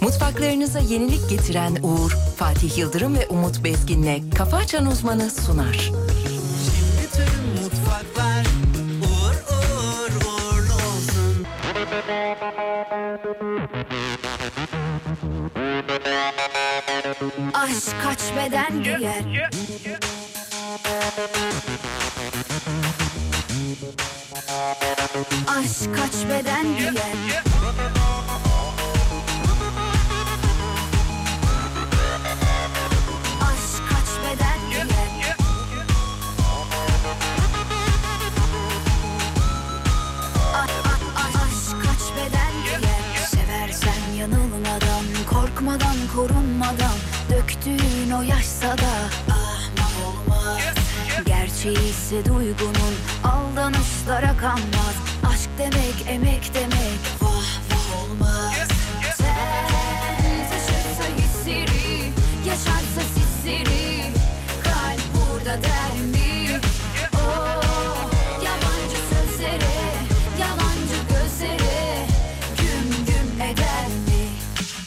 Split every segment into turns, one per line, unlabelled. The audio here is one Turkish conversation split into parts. Mutfaklarınıza yenilik getiren Uğur, Fatih Yıldırım ve Umut Bezgin'le Kafa Açan Uzmanı sunar.
Bütün mutfaklar uğur uğur uğurlu olsun.
Aşk kaç beden giyer Aşk kaç beden giyer Aşk kaç beden giyer A- a- a- Aşk kaç beden giyer Seversen yanılmadan Korkmadan korunmadan Döktüğün o yaşsa da Ah olmaz Gerçeği ise duygunun Aldanışlara kanmaz Aşk demek emek demek Vah vah olmaz Sen taşırsa hissiri Yaşarsa sisiri Kalp burada der mi? Oh, yabancı sözlere, yalancı gözlere güm güm eder mi?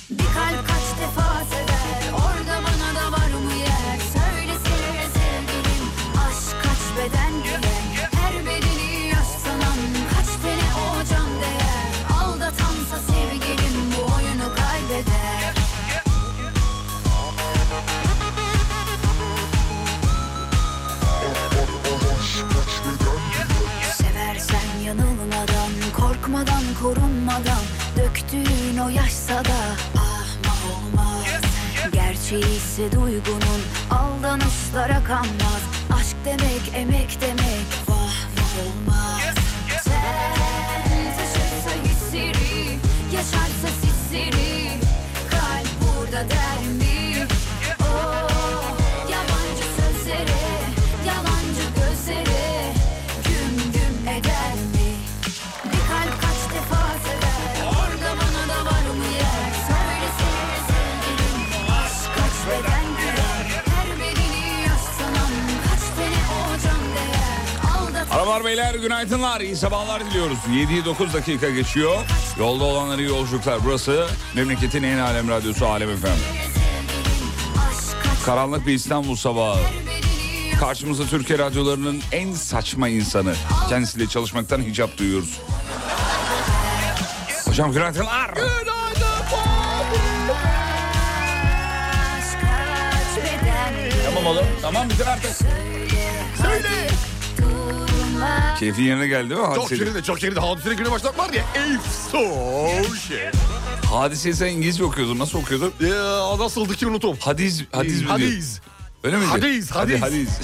Bir kalp kaç defa sever, orada bana da var mı yer? Söylesene sevgilim, aşk kaç beden giyer? Her bedeni yaş sanan, kaç tane o can değer? Aldatansa sevgilim, bu oyunu kaybeder. Seversen yanılmadan, korkmadan, korunmadan Döktüğün o yaşsa da ah mah olmaz Gerçeği ise duygunun aldanışlara kanmaz Aşk demek emek demek vah vah olmaz Sen taşırsa hissiri, yaşarsa sisiri Kalp burada der mi? Oh, yabancı sözlere, yalancı gözlere Güm güm eder mi? Bir kalp kaç defa sever Orada bana da var mı yer? Söylesene sevgilim Aşk kaç beden girer Her bedeni yaş sanan Kaç tane o can değer Aldatan
Arabalar beyler günaydınlar. iyi sabahlar diliyoruz. 7'yi 9 dakika geçiyor. Yolda olanları iyi yolculuklar. Burası memleketin en alem radyosu Alem efendim.
sevgilim Aşk kaç
Karanlık bir İstanbul sabahı.
her bedeni yaş
Karşımızda Türkiye radyolarının en saçma insanı. Kendisiyle çalışmaktan hicap duyuyoruz. Hocam günaydınlar.
Aşk kaç beden girer
Tamam oğlum. Tamam bitir artık.
Söyle Durma
Keyfin yerine geldi değil mi?
Çok
Hadise,
şirin de çok şirin de hadisine güne başlamak var ya. If so shit.
hadiseyi sen İngilizce okuyordun. Nasıl okuyordun?
Ya nasıldı ki unutum.
Hadis, hadis mi diyor?
Hadiz.
Öyle miydi?
Hadis, hadis.
Hadi, hadis.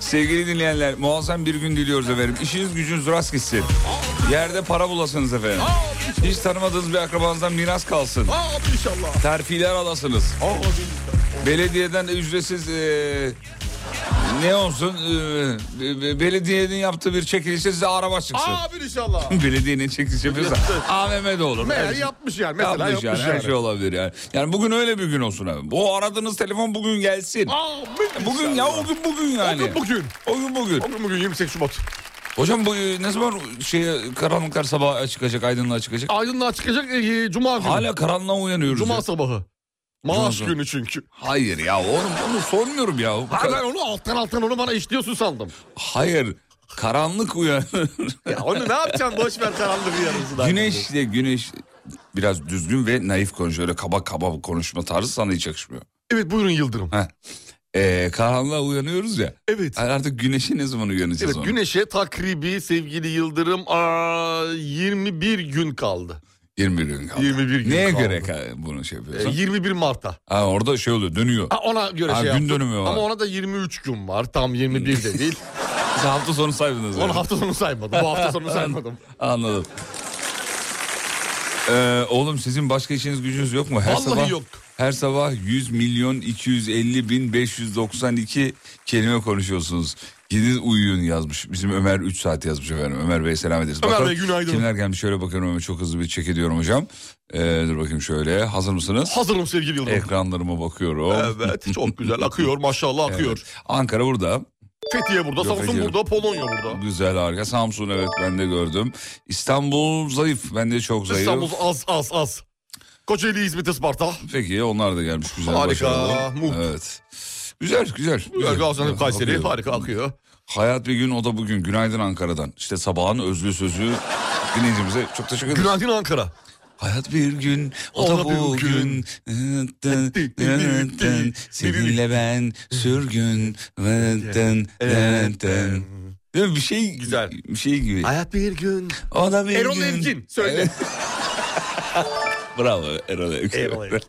Sevgili dinleyenler muazzam bir gün diliyoruz efendim. İşiniz gücünüz rast gitsin. Yerde para bulasınız efendim. Hiç tanımadığınız bir akrabanızdan miras kalsın.
Abi inşallah.
Terfiler alasınız.
Abi inşallah.
Belediyeden ücretsiz eee, ne olsun eee, be- belediyenin yaptığı bir çekilişte size araba çıksın.
Abi inşallah.
Belediyenin çekilişi yapıyorsa AVM de olur.
Meğer
Her-
yapmış yani. Mesela
yapmış
yapmış,
yani, her
yani.
şey olabilir yani. Yani bugün öyle bir gün olsun abi. Bu aradığınız telefon bugün gelsin.
Abi
Bugün
inşallah.
ya o gün bugün yani.
O gün bugün.
O gün bugün.
O gün bugün 28 Şubat.
Hocam bu e, ne zaman şey karanlıklar sabaha çıkacak, aydınlığa çıkacak?
Aydınlığa çıkacak e, Cuma günü.
Hala karanlığa uyanıyoruz. ya.
Cuma sabahı. Maaş
Cuma
günü çünkü.
Hayır ya oğlum onu sormuyorum ya. Bu
Ha,
ka-
ben onu alttan alttan onu bana işliyorsun sandım.
Hayır. Karanlık uyan.
Ya onu ne yapacaksın? Boş ver karanlığı yarısından.
Güneşle güneş biraz düzgün ve naif konuşuyor. Öyle kaba kaba konuşma tarzı sana hiç yakışmıyor.
Evet buyurun Yıldırım.
Heh. Ee, karanlığa uyanıyoruz ya.
Evet.
Yani Artık güneşe ne zaman uyanacağız
Evet
onu?
güneşe takribi sevgili Yıldırım aa, 21 gün kaldı.
21 gün kaldı.
21 gün
Neye
kaldı.
göre ka- bunu şey
Ee,
yapıyorsun?
21 Mart'a.
Ha, orada şey oluyor dönüyor.
Ha, ona göre
Ha,
şey
gün
yaptım.
dönümü var.
Ama ona da 23 gün var. Tam 21 de değil.
Siz hafta sonu saydınız.
Onu hafta sonu saymadım. Bu hafta sonu saymadım.
Anladım. Ee, oğlum sizin başka işiniz gücünüz yok mu? Her
Vallahi
sabah,
yok.
Her sabah 100 milyon 250 bin 592 kelime konuşuyorsunuz. Gidin uyuyun yazmış. Bizim Ömer 3 saat yazmış efendim. Ömer Bey selam ederiz.
Ömer
Bakalım
Bey, günaydın.
Kimler gelmiş şöyle bakıyorum Ömer çok hızlı bir çek ediyorum hocam. Ee, dur bakayım şöyle hazır mısınız?
Hazırım sevgili Yıldırım.
Eh, Ekranlarıma bakıyorum.
Evet çok güzel akıyor maşallah akıyor.
Ankara burada.
Fethiye burada,
Yok,
Samsun
Fethiye.
burada, Polonya burada.
Güzel harika. Samsun evet ben de gördüm. İstanbul zayıf. Ben de çok zayıf.
İstanbul az az az. Kocaeli, İzmit, Isparta.
Peki onlar da gelmiş güzel
Harika,
başarılı.
muht.
Evet. Güzel güzel.
Güzel Gaziantep,
Evet,
Kayseri
akıyor.
harika akıyor.
Hayat bir gün o da bugün. Günaydın Ankara'dan. İşte sabahın özlü sözü dinleyicimize çok teşekkür ederim.
Günaydın Ankara.
Hayat bir gün o da bugün. Seninle ben sürgün. Değil mi? Bir şey
Güzel.
Bir şey gibi.
Hayat bir gün.
O da bir
Erol
gün.
Evgin söyle.
Evet. Bravo Erol Evgin.
Erol Evgin.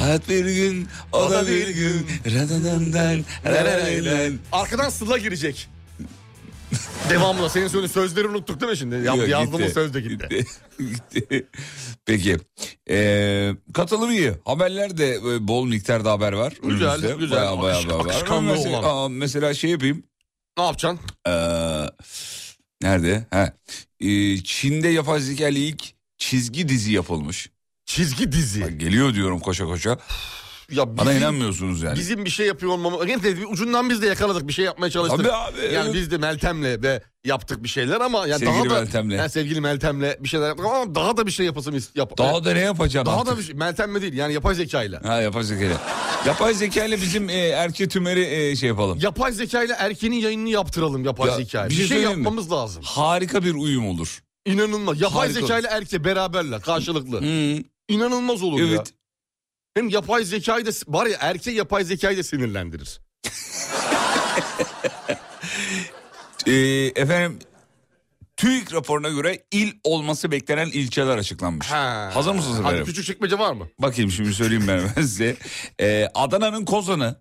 Hayat bir gün, o, da bir gün. Radadamdan, radadamdan.
Arkadan Sıla girecek. Devamla senin söyle sözleri unuttuk değil mi şimdi? Yap,
Yok,
yazdığımız
gitti.
söz de gitti.
Gitti. Peki. Ee, katılım iyi. Haberlerde e, bol miktarda haber var.
Güzel,
Önümüzde.
güzel.
Bayağı bayağı
Akış-
haber var.
akışkanlığı
Ama mesela,
olan.
aa, mesela şey yapayım.
Ne yapacaksın?
Ee, nerede? Ha. Ee, Çin'de yapay zeka ile ilk çizgi dizi yapılmış.
Çizgi dizi.
Bak, geliyor diyorum koşa koşa.
Ya
Bana
bizim-
inanmıyorsunuz yani.
Bizim bir şey yapıyor olmamız... Gene de ucundan biz de yakaladık bir şey yapmaya çalıştık.
Abi abi.
Yani biz de Meltem'le de yaptık bir şeyler ama yani
Sevgili
daha da
Meltem'le.
Yani sevgili Meltem'le bir şeyler yaptık ama daha da bir şey yapasım ist- yap.
Daha da ne yapacağım
daha
artık?
da bir şey, Meltem'le değil yani yapay zekayla.
Ha yapay zekayla. Yapay zekayla bizim e, erke tümeri e, şey yapalım.
Yapay zekayla erkenin yayınını yaptıralım yapay
Ya, bir
zekayla. Bir
şey
şey,
söyleyeyim mi?
yapmamız lazım.
Harika bir uyum olur.
İnanılmaz. Yapay
Harika
zekayla erke beraberler karşılıklı.
Hı,
İnanılmaz olur ya.
evet.
Hem yapay zekayı da var ya erkek yapay zekayı da sinirlendirir.
Ee, efendim TÜİK raporuna göre il olması beklenen ilçeler açıklanmış.
Ha.
Hazır mısınız
Hadi
efendim?
küçük çekmece var mı?
Bakayım şimdi söyleyeyim ben hemen size. Ee, Adana'nın Kozan'ı,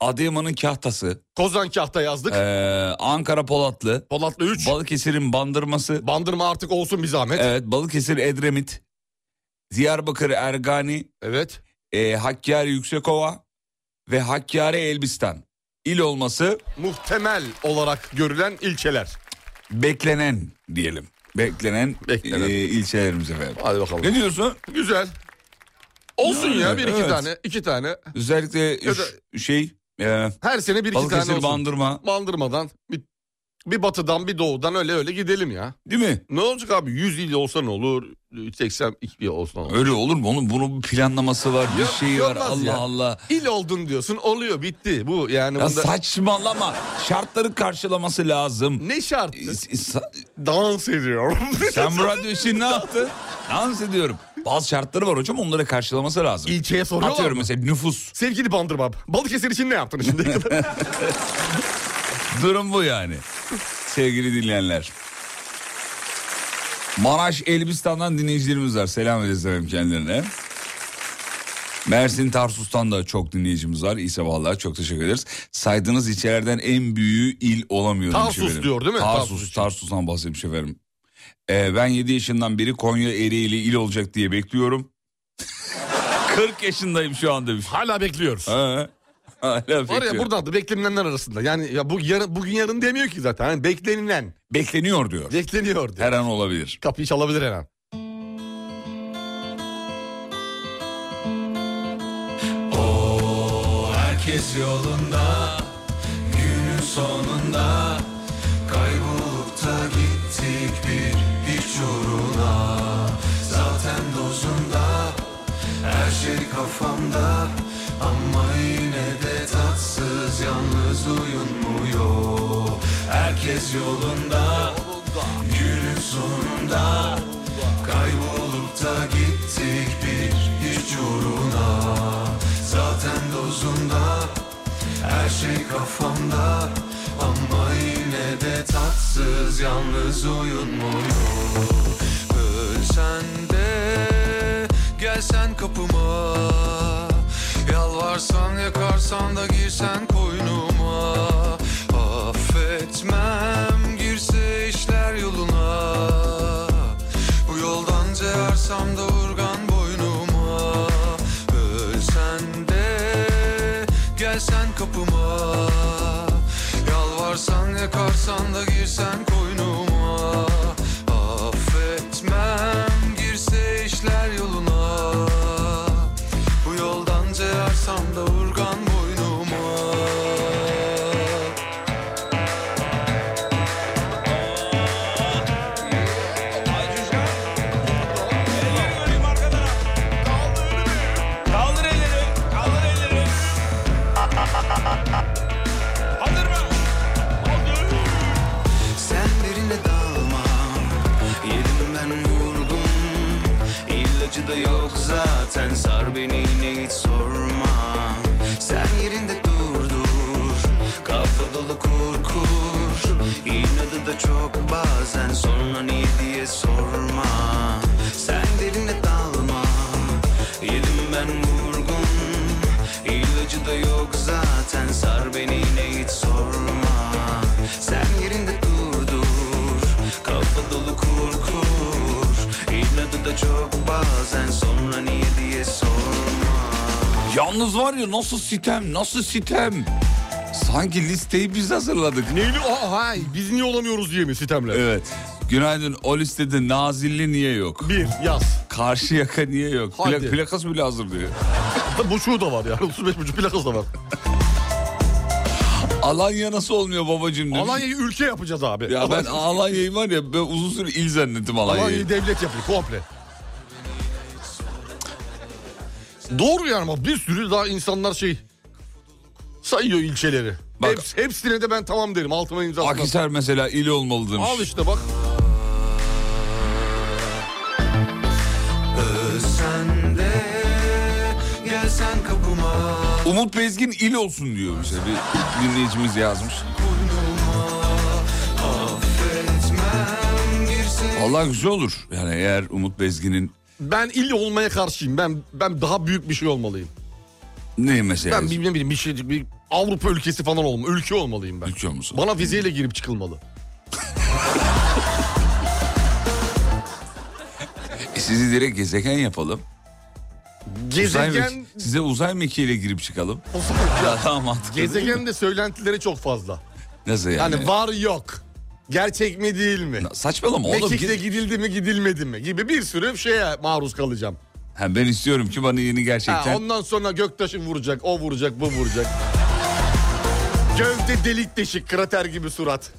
Adıyaman'ın Kahtası,
Kozan kahta yazdık.
ee, Ankara Polatlı,
Polatlı 3.
Balıkesir'in Bandırması,
Bandırma artık olsun bir zahmet. Evet.
evet Balıkesir Edremit, Diyarbakır Ergani, e, Hakkari Yüksekova ve Hakkari Elbistan il olması
Muhtemel olarak görülen ilçeler.
beklenen diyelim. Beklenen,
Beklenen.
e, ilçelerimiz efendim.
Hadi bakalım.
Ne diyorsun?
Güzel. Olsun
Yani,
ya bir iki
evet.
tane. iki tane.
Özellikle
Ya da-
ş- şey e,
Her sene bir iki tane
Balıkesir
olsun.
Bandırma
Bandırmadan bir, bir batıdan bir doğudan öyle öyle gidelim ya.
değil mi?
Ne olacak abi 100 il olsa ne olur 82 il olsa ne olur.
Öyle olur mu? Onun bunun bir planlaması var, bir
Yok,
şeyi var.
olmaz
Allah
ya.
Allah.
İl oldun diyorsun oluyor bitti bu yani.
Ya
bunda...
saçmalama. Şartları karşılaması lazım.
Ne şart?
E, s- sa-
Dans ediyorum.
Sen bu radyo işini ne yaptın? Dans ediyorum. Bazı şartları var hocam onlara karşılaması lazım.
İlçeye soruyorlar
Atıyorum
mı?
mesela nüfus.
Sevgili Bandırma, Balıkesir için ne yaptın şimdi?
Durum bu yani. Sevgili dinleyenler. Maraş Elbistan'dan dinleyicilerimiz var. Selam ederiz efendim kendilerine. Mersin Tarsus'tan da çok dinleyicimiz var. İyi sabahlar çok teşekkür ederiz. Saydığınız ilçelerden en büyüğü il olamıyor. demiş
Tarsus
efendim.
diyor değil mi?
Tarsus,
Tarsus için.
Tarsus'tan bahsetmiş efendim. Ee, ben 7 yaşından beri Konya Ereğli il olacak diye bekliyorum. 40 yaşındayım şu an demiş.
Hala bekliyoruz.
Ha, hala
Var ya
bekliyorum.
buradan da beklenenler arasında. Yani ya bu yarın, bugün yarın demiyor ki zaten. Hani beklenilen,
Bekleniyor diyor.
bekleniyor diyor.
Her an olabilir.
Kapıyı çalabilir her an.
Herkes yolunda Günün sonunda Kaybolup da gittik bir hiç uğruna Zaten dozunda Her şey kafamda Ama yine de tatsız Yalnız uyunmuyor Herkes yolunda Günün sonunda Kaybolup da gittik bir hiç uğruna Zaten dozunda her şey kafamda Ama yine de tatsız yalnız uyunmuyor Ölsen de gelsen kapıma Yalvarsan yakarsan da girsen koynuma Affetmem girse işler yoluna Bu yoldan cevarsam da urgan boynuma Ölsen de gelsen kapıma Yalvarsan yakarsan da girsen koynuma Affetmem girse işler yoluna Bu yoldan cevarsam da urgan boynuma zaten Sar beni yine hiç sorma Sen yerinde dur dur Kafa dolu kur kur İnadı da çok bazen Sonra niye diye sorma Sen derine dalma Yedim ben vurgun İlacı da yok zaten Sar beni yine hiç sorma Sen yerinde dur dur Kafa dolu kur kur İnadı da çok bazen Sonra niye diye sorma
Yalnız var ya nasıl sitem nasıl sitem. Sanki listeyi biz hazırladık.
Neyli? Aa, ha, biz niye olamıyoruz diye mi sitemle?
Evet. Günaydın o listede Nazilli niye yok?
Bir yaz.
Karşıyaka niye yok? Pla-
Hadi.
plakası bile hazır diyor.
Ha, Buçuğu da var yani. 35 buçuk plakası da var.
Alanya nasıl olmuyor babacığım demiş.
Alanya'yı ülke yapacağız abi.
Ya ben
Alanya-
Alanya'yı var ya ben uzun süre il zannettim Alanya'yı.
Alanya'yı devlet yapıyor komple. Doğru yani ama bir sürü daha insanlar şey sayıyor ilçeleri.
Bak-
Heps- hepsine de ben tamam derim altıma imza atarım.
Akhisar mesela il olmalı demiş.
Al işte bak.
Sen de gelsen kapıma
Umut Bezgin il olsun diyor mesela bir dinleyicimiz yazmış.
Affetmem girsin
Vallahi güzel olur. Yani eğer Umut Bezgin'in
Ben il olmaya karşıyım. Ben ben daha büyük bir şey olmalıyım.
ne mesela?
Ben bir, ne bileyim bir şey bir Avrupa ülkesi falan olmalı. Ülke olmalıyım ben.
Ülke olması.
Bana vizeyle girip çıkılmalı.
E, sizi direkt gezegen yapalım. Uzay
Gezegen
mek- size uzay mekiğiyle girip çıkalım.
O zaman ya,
Daha, daha mantıklı. değil mi?
gezegen de söylentileri çok fazla.
Nasıl yani?
Yani, var yok. Gerçek mi değil mi?
Na- Saçmalama oğlum.
Mekik'te
git-
gidildi mi gidilmedi mi gibi bir sürü şeye maruz kalacağım.
Ha, ben istiyorum ki bana yeni
Ha,
gerçekten.
ondan sonra Göktaş'ı vuracak, o vuracak, bu vuracak. Gövde delik deşik, krater gibi surat.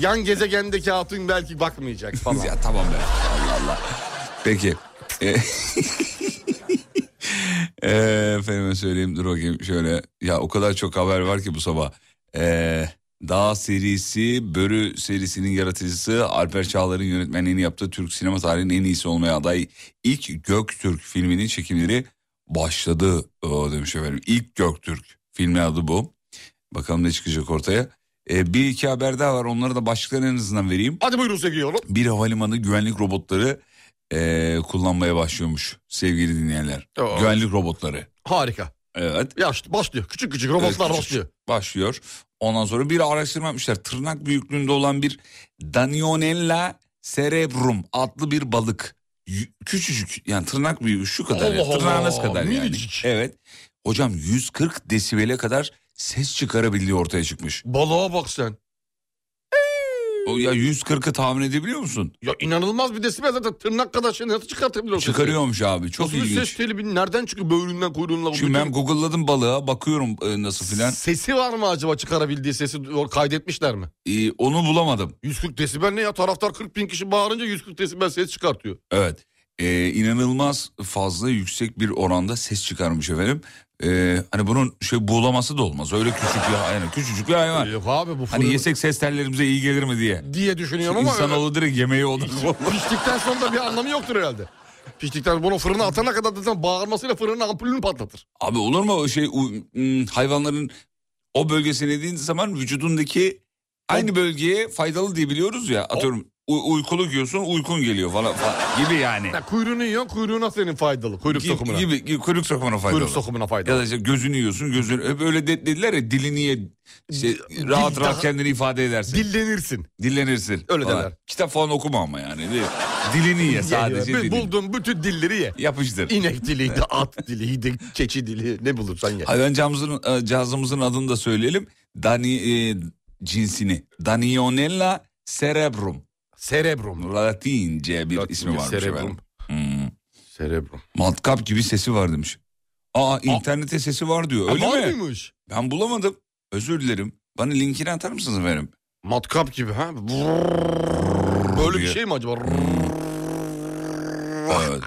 Yan gezegendeki hatun belki bakmayacak falan.
Ya tamam be. Allah Allah. Peki. E, e, efendime söyleyeyim dur bakayım şöyle. Ya o kadar çok haber var ki bu sabah. E, Dağ serisi, Börü serisinin yaratıcısı Alper Çağlar'ın yönetmenliğini yaptığı Türk sinema tarihinin en iyisi olmaya aday ilk Göktürk filminin çekimleri başladı o demiş efendim. İlk Göktürk filmi adı bu. Bakalım ne çıkacak ortaya. E, bir iki haber daha var onları da başlıkları en azından vereyim
Hadi buyurun sevgili oğlum.
bir havalimanı güvenlik robotları eee, kullanmaya başlıyormuş sevgili dinleyenler.
Oo.
Güvenlik robotları.
Harika.
Evet.
Ya işte başlıyor. Küçük küçük robotlar
Evet, küçük
başlıyor.
Başlıyor. Ondan sonra bir araştırma yapmışlar. Tırnak büyüklüğünde olan bir Danionella cerebrum adlı bir balık. Y- Küçücük yani tırnak büyüğü şu kadar.
Allah
ya, tırnağınız
Allah,
kadar yani.
minicik.
Evet. Hocam 140 desibele kadar ses çıkarabildiği ortaya çıkmış.
Balığa bak sen.
O ya 140'ı tahmin edebiliyor musun?
Ya inanılmaz bir desibel zaten tırnak kadar şey nasıl çıkartabiliyor?
Çıkarıyormuş abi. Çok
Nasıl bir ses
ilginç.
telibi nereden çıkıyor böğründen kuyruğundan?
Şimdi ben google'ladım balığa bakıyorum e, nasıl filan.
Sesi var mı acaba çıkarabildiği sesi kaydetmişler mi?
Ee, onu bulamadım.
140 desibel ne ya? Taraftar 40 bin kişi bağırınca 140 desibel ses çıkartıyor.
Evet. Ee, inanılmaz fazla yüksek bir oranda ses çıkarmış efendim. Ee, hani bunun şey buğulaması da olmaz. Öyle küçük bir hayvan. Küçücük bir hayvan.
Yok abi bu fırın
Hani yesek ses tellerimize iyi gelir mi diye.
diye düşünüyorum ama
İnsanoğlu direkt yemeğe odaklı.
piştikten sonra da bir anlamı yoktur herhalde. Piştikten bunu fırına atana kadar zaten bağırmasıyla fırının ampulünü patlatır.
Abi olur mu o şey u- m, hayvanların o bölgesine dediğin zaman vücudundaki aynı bölgeye faydalı diye biliyoruz ya. Atıyorum u- uykulu yiyorsun uykun geliyor falan, falan gibi yani.
Ya kuyruğunu yiyorsun kuyruğuna senin faydalı. Kuyruk sokumuna.
Gibi, gibi, gibi kuyruk sokumuna faydalı.
Kuyruk sokumuna
Ya
faydalı.
da işte gözünü yiyorsun gözünü hep öyle de- dediler ya dilini ye işte
Dil-
rahat
dil-
rahat
daha-
kendini ifade edersin.
Dillenirsin.
Dillenirsin.
Öyle
falan.
derler.
Kitap falan okuma ama yani. Değil mi? Dilini ye sadece
Ye-
dilini.
Bulduğun bütün dilleri ye.
Yapıştır.
İnek diliydi, at diliydi, keçi dili ne bulursan ye.
Hayvan cihazımızın, cihazımızın e, adını da söyleyelim. Dani, e, cinsini. Danionella cerebrum.
Serebrum.
Latince bir
Latince
ismi varmış
cerebrum.
efendim. Hmm.
Serebrum.
Matkap gibi sesi var demiş. Aa internete sesi var diyor. Öyle
Var
mi?
mıymış?
Ben bulamadım. Özür dilerim. Bana linkini atar mısınız efendim?
Matkap gibi ha. Böyle bir
diye.
şey mi acaba?
Evet.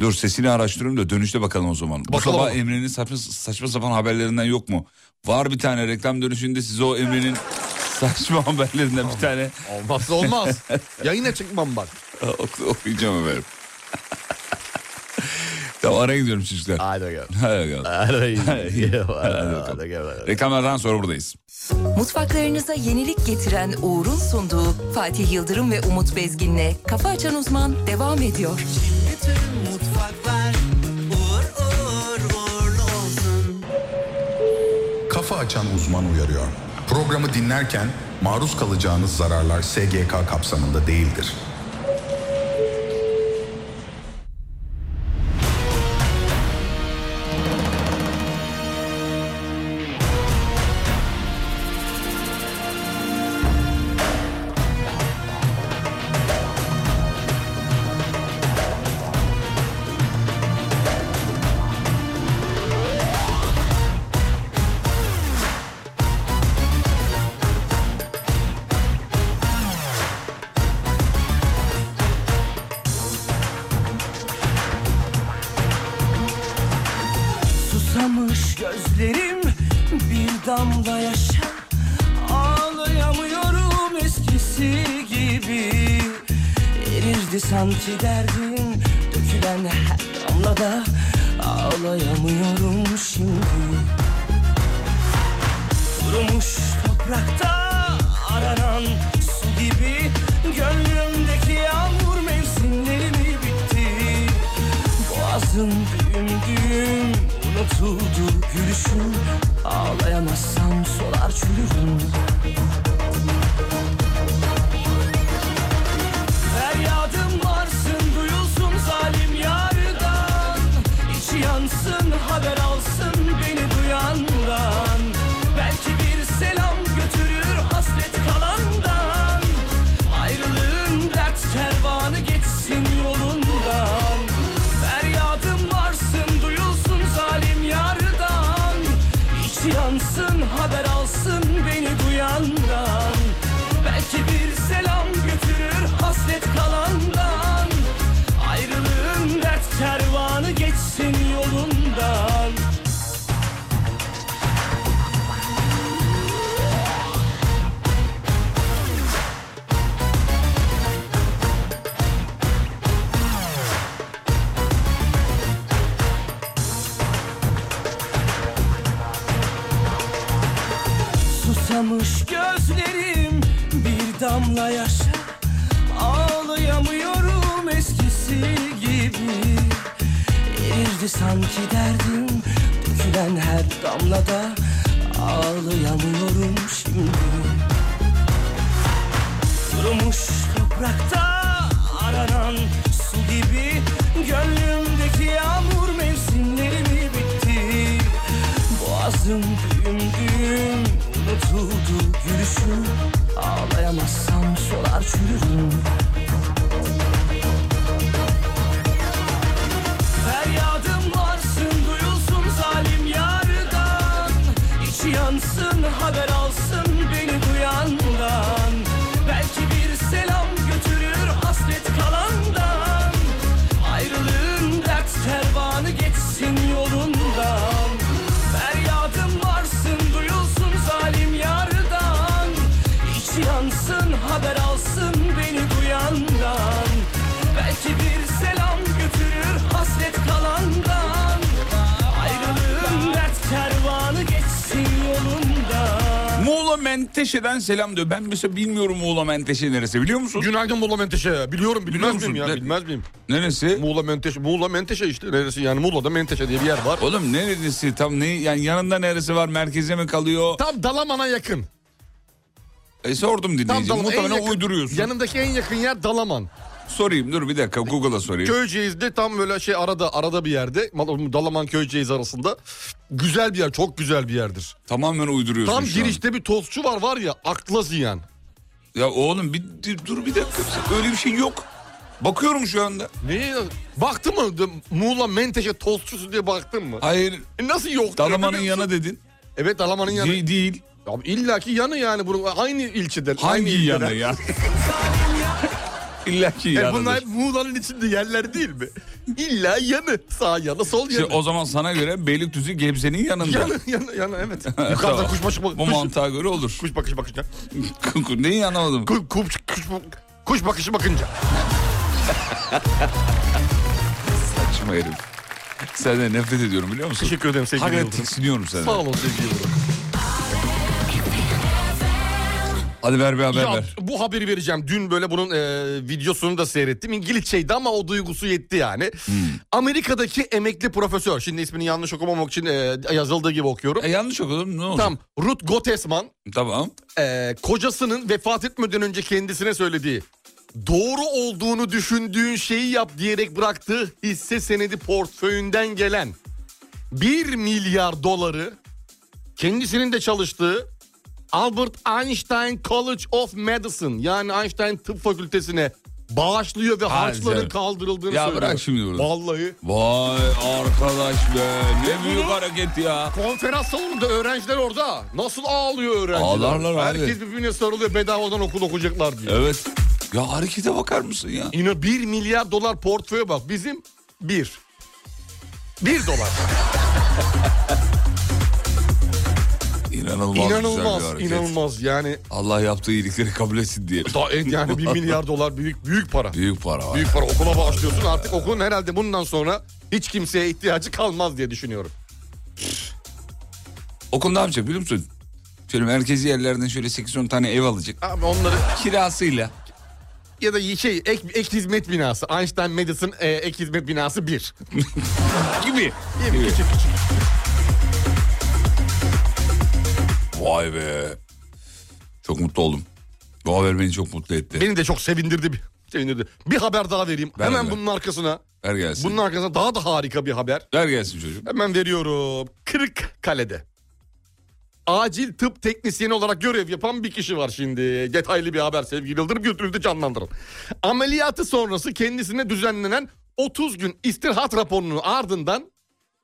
Dur sesini araştırıyorum da dönüşte bakalım o zaman. Bu
Bakalım
sabah
ama.
Emre'nin saçma, saçma sapan haberlerinden yok mu? Var bir tane reklam dönüşünde size o Emre'nin saçma haberlerinden bir tane e,
Olmazsa olmaz. Yayına çıkmam bak.
oku- okuyacağım efendim. Tamam araya gidiyorum çocuklar.
Hadi bakalım.
Hadi bakalım. Reklamlardan sonra buradayız.
Mutfaklarınıza yenilik getiren Uğur'un sunduğu Fatih Yıldırım ve Umut Bezgin'le Kafa Açan Uzman devam ediyor.
Kafa açan uzman uyarıyor. Programı dinlerken maruz kalacağınız zararlar SGK kapsamında değildir.
Susamış gözlerim bir damla yaşa Ağlayamıyorum eskisi gibi Erirdi sanki derdin dökülen her damlada Ağlayamıyorum şimdi Kurumuş toprakta aranan su gibi Gönlümdeki yağmur mevsimleri mi bitti Boğazım düğüm düğüm unutuldu gülüşün Ağlayamazsam solar çürürüm Feryadım varsın duyulsun zalim yardan İçi yansın haber alsın beni duyandan Belki bir selam götürür hasret kalandan Ayrılığın dert kervanı geçsin yolundan Feryadım varsın duyulsun zalim yardan İçi yansın haber alsın beni duyandan Belki bir selam götürür hasret kalandan Ayrılığın dert kervanı geçsin yolundan Susamış gözlerim bir damla yaşa Ağlayamıyorum eskisi gibi Erirdi sanki derdim dökülen her damlada Ağlayamıyorum şimdi Kurumuş toprakta aranan su gibi Gönlümdeki yağmur mevsimleri mi bitti Boğazım düğüm düğüm unutuldu gülüşüm Ağlayamazsam solar çürürüm Feryadım varsın duyulsun zalim yardan İçi yansın haber alsın beni duyandan Belki bir selam götürür hasret kalandan Ayrılığın dert kervanı geçsin yolundan Feryadım varsın duyulsun zalim yardan İçi yansın haber alsın beni duyandan Belki bir selam götürür hasret kalandan Ayrılığın dert kervanı geçsin yolundan
Muğla Menteşe'den selam diyor. Ben mesela bilmiyorum Muğla Menteşe neresi biliyor musun?
Günaydın Muğla Menteşe. Biliyorum
Biliyor
bilmez
musun?
miyim ya
Ne-
bilmez miyim?
Neresi?
Muğla Menteşe. Muğla Menteşe işte neresi yani Muğla'da Menteşe diye bir yer var.
Oğlum neresi? Tam ne? Yani yanında neresi var? Merkeze mi kalıyor?
Tam Dalaman'a yakın.
E, sordum
Tam
dinleyiciye.
Dalaman. en
Muhtemelen
yakın-
uyduruyorsun.
Yanındaki en yakın yer Dalaman.
Sorayım dur bir dakika Google'a sorayım.
Köyceğiz'de tam böyle şey arada arada bir yerde. Mal- Dalaman Köyceğiz arasında. Güzel bir yer çok güzel bir yerdir.
Tamamen uyduruyorsun
Tam
şu an.
girişte bir tostçu var var ya akla ziyan.
Ya oğlum bir dur- dur bir dakika. Öyle bir şey yok. Bakıyorum şu anda.
Ne? Baktın mı? De- Muğla Menteşe tostçusu diye baktın mı?
Hayır.
E nasıl yok?
Dalaman'ın
Biliyor
yanı
musun?
dedin.
Evet Dalaman'ın yanı.
Değil, değil.
Abi illaki yanı yani bunu aynı ilçeden. aynı
Hangi yanı
ilçeden.
ya? İlla ki
E
yanıdır.
bunlar hep Muğla'nın içinde yerler değil mi? İlla yanı. Sağ yanı, sol
İşte
yanı.
o zaman sana göre Beylikdüzü Gebze'nin yanında.
Yanı, yanı, yanı evet. Yukarıda
Tamam.
kuş başı
Bu
kuş,
mantığa göre olur.
kuş bakışı bakınca.
Neyi anlamadım?
Kuş, kuş, kuş, kuş bakışı bakınca.
Saçma herif. Senden nefret ediyorum biliyor musun?
Teşekkür ederim sevgili
Hakikaten
Yıldırım.
tiksiniyorum senden.
Sağ olun sevgili Yıldırım.
Hadi ver bir haber
Ya,
ver.
bu haberi vereceğim. Dün böyle bunun e, videosunu da seyrettim. İngilizceydi ama o duygusu yetti yani.
Hmm.
Amerika'daki emekli profesör. Şimdi ismini yanlış okumamak için e, yazıldığı gibi okuyorum.
E, yanlış okudum ne oldu?
Tam Ruth Gottesman
Tamam.
e, kocasının vefat etmeden önce kendisine söylediği doğru olduğunu düşündüğün şeyi yap diyerek bıraktığı hisse senedi portföyünden gelen 1 milyar doları kendisinin de çalıştığı Albert Einstein College of Medicine yani Einstein Tıp Fakültesine bağışlıyor ve harçların
canım.
kaldırıldığını
Ya
söylüyor.
bırak şimdi bunu.
Vallahi.
Vay arkadaş be ne büyük
bunu-
hareket ya.
Konferans salonunda öğrenciler orada. Nasıl ağlıyor öğrenciler?
Ağlarlar abi.
Herkes birbirine sarılıyor bedavadan okul okuyacaklar diye.
Evet. Ya harekete bakar mısın ya?
İnan 1 milyar dolar portföye bak. Bizim 1. 1 dolar.
İnanılmaz, güzel
inanılmaz,
bir hareket.
inanılmaz. Yani
Allah yaptığı iyilikleri kabul etsin diyelim.
daha en yani 1 milyar dolar büyük büyük para.
Büyük para var.
Büyük para okula bağışlıyorsun. Artık okulun herhalde bundan sonra hiç kimseye ihtiyacı kalmaz diye düşünüyorum.
Okul ne yapacak biliyor musun? Şöyle merkezi yerlerden şöyle 8-10 tane ev alacak.
Abi onları
Kirasıyla.
ya da şey ek, ek hizmet binası. Einstein Madison e, ek hizmet binası 1.
Gibi.
Küçük küçük.
Vay be. Çok mutlu oldum. Bu haber beni çok mutlu etti.
Beni de çok sevindirdi. bir- Sevindirdi. Bir haber daha vereyim.
Ver,
Hemen
ver.
bunun arkasına.
Ver gelsin.
Bunun arkasına daha da harika bir haber.
Ver gelsin çocuğum.
Hemen veriyorum. Kırıkkale'de. Acil tıp teknisyeni olarak görev yapan bir kişi var şimdi. Detaylı bir haber sevgili Yıldırım götürüldü canlandırın. Ameliyatı sonrası kendisine düzenlenen 30 gün istirahat raporunun ardından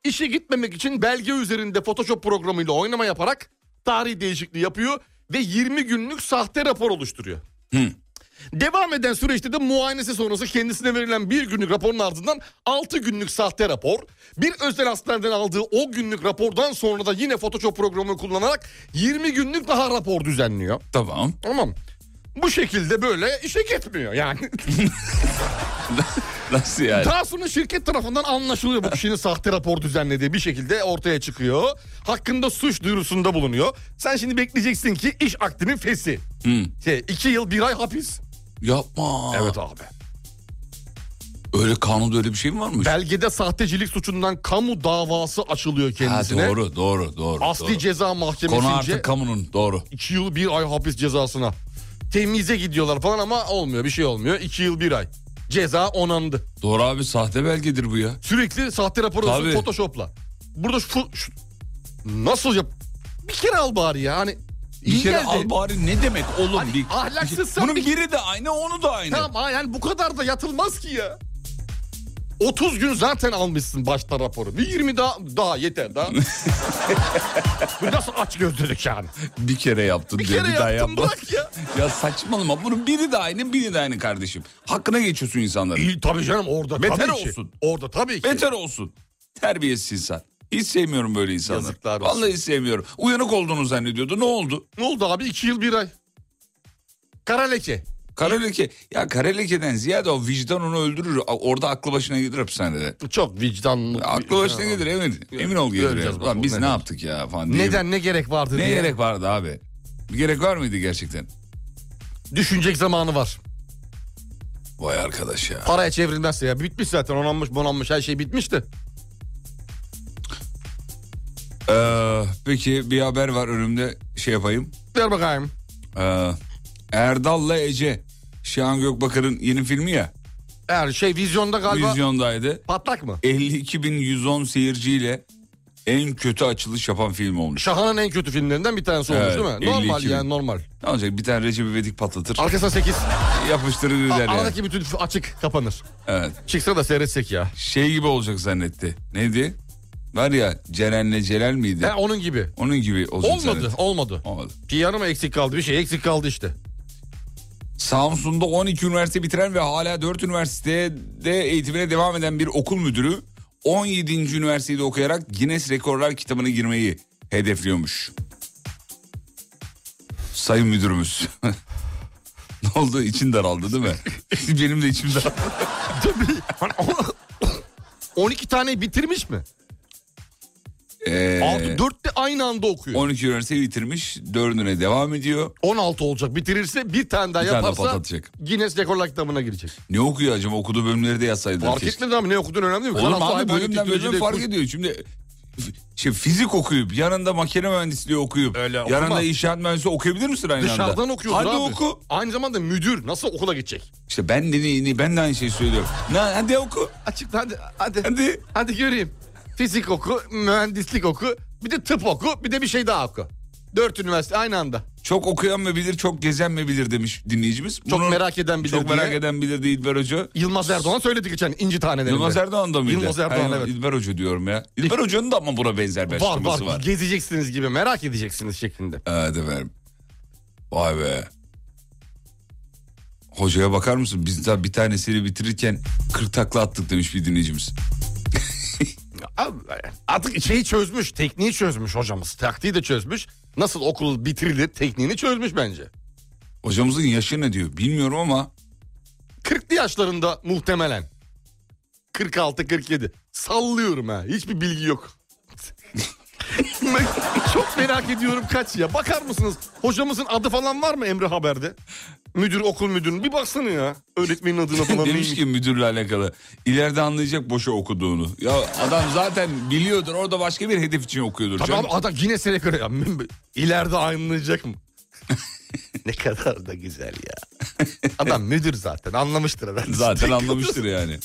işe gitmemek için belge üzerinde Photoshop programıyla oynama yaparak tarih değişikliği yapıyor ve 20 günlük sahte rapor oluşturuyor. Devam eden süreçte de muayenesi sonrası kendisine verilen bir günlük raporun ardından 6 günlük sahte rapor, bir özel hastaneden aldığı o günlük rapordan sonra da yine Photoshop programını kullanarak 20 günlük daha rapor düzenliyor.
Tamam.
Tamam. Bu şekilde böyle işe gitmiyor yani.
Nasıl yani?
Daha sonra şirket tarafından anlaşılıyor bu kişinin sahte rapor düzenlediği bir şekilde ortaya çıkıyor. Hakkında suç duyurusunda bulunuyor. Sen şimdi bekleyeceksin ki iş akdinin fesi. Şey, iki yıl bir ay hapis.
Yapma.
Evet abi.
Öyle kanunda öyle bir şey mi varmış?
Belgede sahtecilik suçundan kamu davası açılıyor
ha,
kendisine.
doğru doğru doğru.
Asli
doğru.
ceza
Konu
mahkemesince
artık kamunun doğru.
2 yıl 1 ay hapis cezasına. Temize gidiyorlar falan ama olmuyor bir şey olmuyor. 2 yıl 1 ay. Ceza onandı.
Doğru abi sahte belgedir bu ya.
Sürekli sahte rapor
Tabii.
alıyorsun Photoshop'la. Burada şu, şu- nasıl yap? Bir kere al bari ya hani.
Bir
iyi
kere
geldi.
al bari ne demek oğlum?
Hani
bir,
ahlaksızsan
Bunun
bir-
biri de aynı onu da aynı.
Tamam ha, yani bu kadar da yatılmaz ki ya. 30 gün zaten almışsın başta raporu. Bir 20 daha daha yeter daha. bu nasıl aç gözlülük yani?
Bir kere yaptın
Bir
diye
kere
bir daha
yaptım,
yapma.
bırak ya.
ya saçmalama bunun biri de aynı biri de aynı kardeşim. Hakkına geçiyorsun insanların.
İyi tabii canım orada
Beter
tabii ki.
olsun.
Orada tabii ki.
Beter olsun. Terbiyesiz insan. Hiç sevmiyorum böyle insanları.
Yazıklar olsun.
Vallahi hiç sevmiyorum. Uyanık olduğunu zannediyordu. Ne oldu?
Ne oldu abi 2 yıl 1 ay. Kara leke.
Karaleke. Ya karalekeden ziyade o vicdan onu öldürür. A- Orada aklı başına gelir hapishanede.
Çok vicdanlı.
Aklı başına gelir emin. Emin ol gelir.
Göreceğiz
ya. Ulan
bakalım
biz
ne
ne
var.
yaptık ya falan. diye.
Neden ne gerek vardı
Ne
diye.
gerek vardı abi? Bir gerek var mıydı gerçekten?
Düşünecek zamanı var.
Vay arkadaş ya.
Paraya çevrilmezse ya bitmiş zaten onanmış bonanmış her şey bitmişti.
Ee, peki bir haber var önümde şey yapayım.
Ver bakayım.
Ee, Erdal'la Ece. Şahan Gökbakar'ın yeni filmi ya.
Her şey vizyonda galiba
Vizyondaydı.
patlak mı?
52.110 seyirciyle en kötü açılış yapan film olmuş.
Şahan'ın en kötü filmlerinden bir tanesi
Evet,
olmuş değil mi?
52
Normal
bin.
yani normal.
Ne olacak bir tane Recep İvedik patlatır.
Arkasına 8.
Yapıştırır gider yani.
Aradaki bütün açık kapanır.
Evet.
Çıksa da seyretsek ya.
Şey gibi olacak zannetti. Neydi? Var ya Ceren'le Celal miydi?
He, onun gibi.
Onun gibi olacak
Olmadı,
zannetti.
olmadı.
Olmadı.
Piyano mu eksik kaldı? Bir şey eksik kaldı işte.
Samsun'da 12 üniversite bitiren ve hala 4 üniversitede eğitimine devam eden bir okul müdürü 17. üniversitede okuyarak Guinness Rekorlar kitabına girmeyi hedefliyormuş. Sayın müdürümüz. ne oldu? İçin daraldı değil mi? Benim de içim daraldı.
12 tane bitirmiş mi?
Ee,
Altı, dört de aynı anda okuyor.
12 üniversiteyi bitirmiş. 4'üne devam ediyor.
16 olacak bitirirse bir tane daha
Bir tane daha
yaparsa
patlatacak.
Guinness Rekorlar kitabına girecek.
Ne okuyor acaba? Okuduğu bölümleri de yazsaydı.
Fark etmedi ama ne okudun önemli değil mi?
Olur mu
Karasal
abi
hayvaniyet
bölümden bölüme
teknolojileri
fark
kur-
ediyor. Şimdi f- şey, fizik okuyup yanında makine mühendisliği okuyup
Öyle
yanında
okumaz.
inşaat mühendisliği okuyabilir misin aynı anda?
Dışarıdan okuyorsun
Hadi
abi.
oku.
Aynı zamanda müdür nasıl okula gidecek?
İşte ben de, ne- ne- ben de aynı şeyi söylüyorum. Na, hadi oku.
Açıkla hadi hadi.
Hadi.
Hadi göreyim. Fizik oku, mühendislik oku, bir de tıp oku, bir de bir şey daha oku. Dört üniversite aynı anda.
Çok okuyan mı bilir, çok gezen mi bilir demiş dinleyicimiz.
Çok merak eden bilir
Çok merak
diye.
eden bilir diye İlber Hoca.
Yılmaz Erdoğan söyledi geçen inci tanelerinde.
Yılmaz Erdoğan da mıydı?
Yılmaz Erdoğan,
Hayır,
evet.
İlber Hoca diyorum ya. İlber Hoca'nın da ama buna benzer bir
Var var,
açıklaması var.
gezeceksiniz gibi merak edeceksiniz şeklinde.
Evet efendim. Vay be. Hocaya bakar mısın? Biz daha bir tanesini bitirirken 40 takla attık demiş bir dinleyicimiz.
Abi, Artık şeyi çözmüş, tekniği çözmüş hocamız. Taktiği de çözmüş. Nasıl okul bitirilir tekniğini çözmüş bence.
Hocamızın yaşı ne diyor bilmiyorum ama
40'lı yaşlarında muhtemelen. 46-47. Sallıyorum ha. Hiçbir bilgi yok. Ben Çok merak ediyorum kaç ya. Bakar mısınız? Hocamızın adı falan var mı Emre Haber'de? Müdür, okul müdürünün. Bir baksana ya. Öğretmenin adına falan
demiş
neymiş?
ki müdürle alakalı. İleride anlayacak boşa okuduğunu. Ya adam zaten biliyordur orada başka bir hedef için okuyordur.
Tabii
canım.
abi adam yine sene göre ya. İleride anlayacak mı? ne kadar da güzel ya. Adam müdür zaten anlamıştır herhalde.
Zaten anlamıştır yani.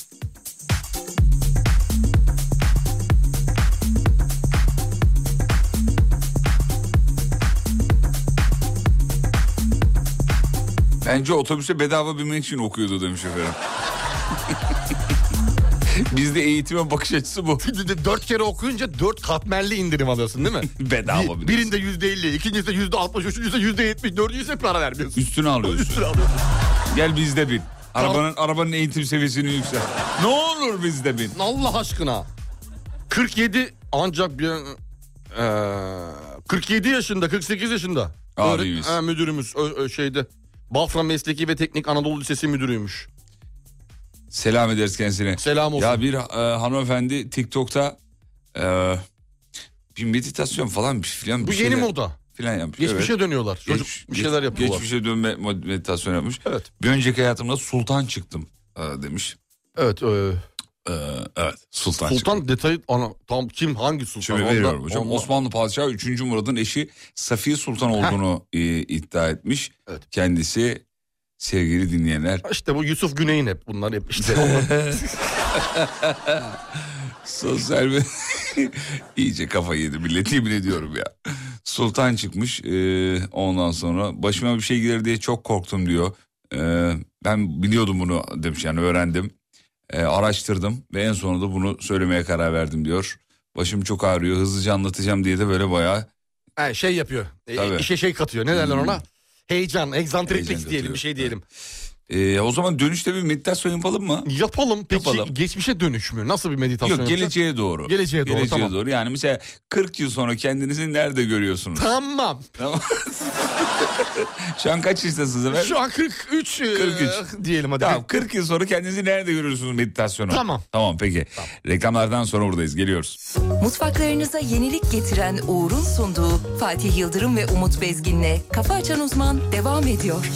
Bence otobüse bedava binmek için okuyordu demiş efendim. Bizde eğitime bakış açısı bu.
dört kere okuyunca dört katmerli indirim alıyorsun değil mi?
Bedava
Bir-
biliyorsun.
birinde yüzde elli, ikincisinde yüzde altmış, üçüncüsünde yüzde yetmiş, dördüncüsünde para vermiyorsun.
Üstüne alıyorsun.
Üstüne alıyorsun.
Gel bizde bin. Arabanın arabanın eğitim seviyesini yükselt. Ne olur bizde bin.
Allah aşkına. 47 ancak bir... eee, 47 yaşında, 48 yaşında.
Abimiz.
Öğret- ha, müdürümüz ö- ö- şeyde. Bafra Mesleki ve Teknik Anadolu Lisesi müdürüymüş.
Selam ederiz kendisine.
Selam olsun.
Ya bir e, hanımefendi TikTok'ta e, bir meditasyon falan bir filan bir
Bu yeni
şeyler
moda.
filan yapmış.
Geçmişe
Evet.
dönüyorlar. Çocuk
Geç-
bir şeyler
geç-
yapıyorlar.
Geçmişe dönme mod- meditasyon yapmış.
Evet.
Bir önceki hayatımda sultan çıktım e, demiş.
Evet. e,
E, evet sultan, çıktım.
sultan detayı ana, tam kim hangi sultan?
Şimdi
Ondan-
veriyorum hocam.
ondan-
Osmanlı Padişahı 3. Murad'ın eşi Safiye Sultan olduğunu e, iddia etmiş.
Evet.
Kendisi sevgili dinleyenler
İşte bu Yusuf Güney'in hep bunlar hep işte.
Sosyal medya... İyice kafayı yedi millet yemin ediyorum ya. Sultan çıkmış e, ondan sonra başıma bir şey gelir diye çok korktum diyor. E, ben biliyordum bunu demiş yani öğrendim. E, araştırdım ve en sonunda bunu söylemeye karar verdim diyor. Başım çok ağrıyor hızlıca anlatacağım diye de böyle bayağı
Ha, şey yapıyor. E,
Tabii.
işe şey katıyor. Ne derler
Hmm.
ona? Heyecan, egzantriklik
Heyecan
diyelim
katıyor.
bir şey diyelim.
E, o zaman dönüşte bir meditasyon yapalım mı?
Yapalım. Peki
Yapalım.
geçmişe dönüş mü? Nasıl bir meditasyon?
Yok
yapacağız?
geleceğe doğru.
Geleceğe doğru, tamam.
Yani mesela 40 yıl sonra kendinizi nerede görüyorsunuz?
Tamam.
Tamam. Şu an kaç yaşındasınız efendim?
Şu an 43, e,
43.
diyelim hadi.
Tamam 40 yıl sonra kendinizi nerede görürsünüz meditasyonu?
Tamam.
Tamam peki. Reklamlardan sonra buradayız geliyoruz.
Mutfaklarınıza yenilik getiren Uğur'un sunduğu Fatih Yıldırım ve Umut Bezgin'le Kafa Açan Uzman devam ediyor.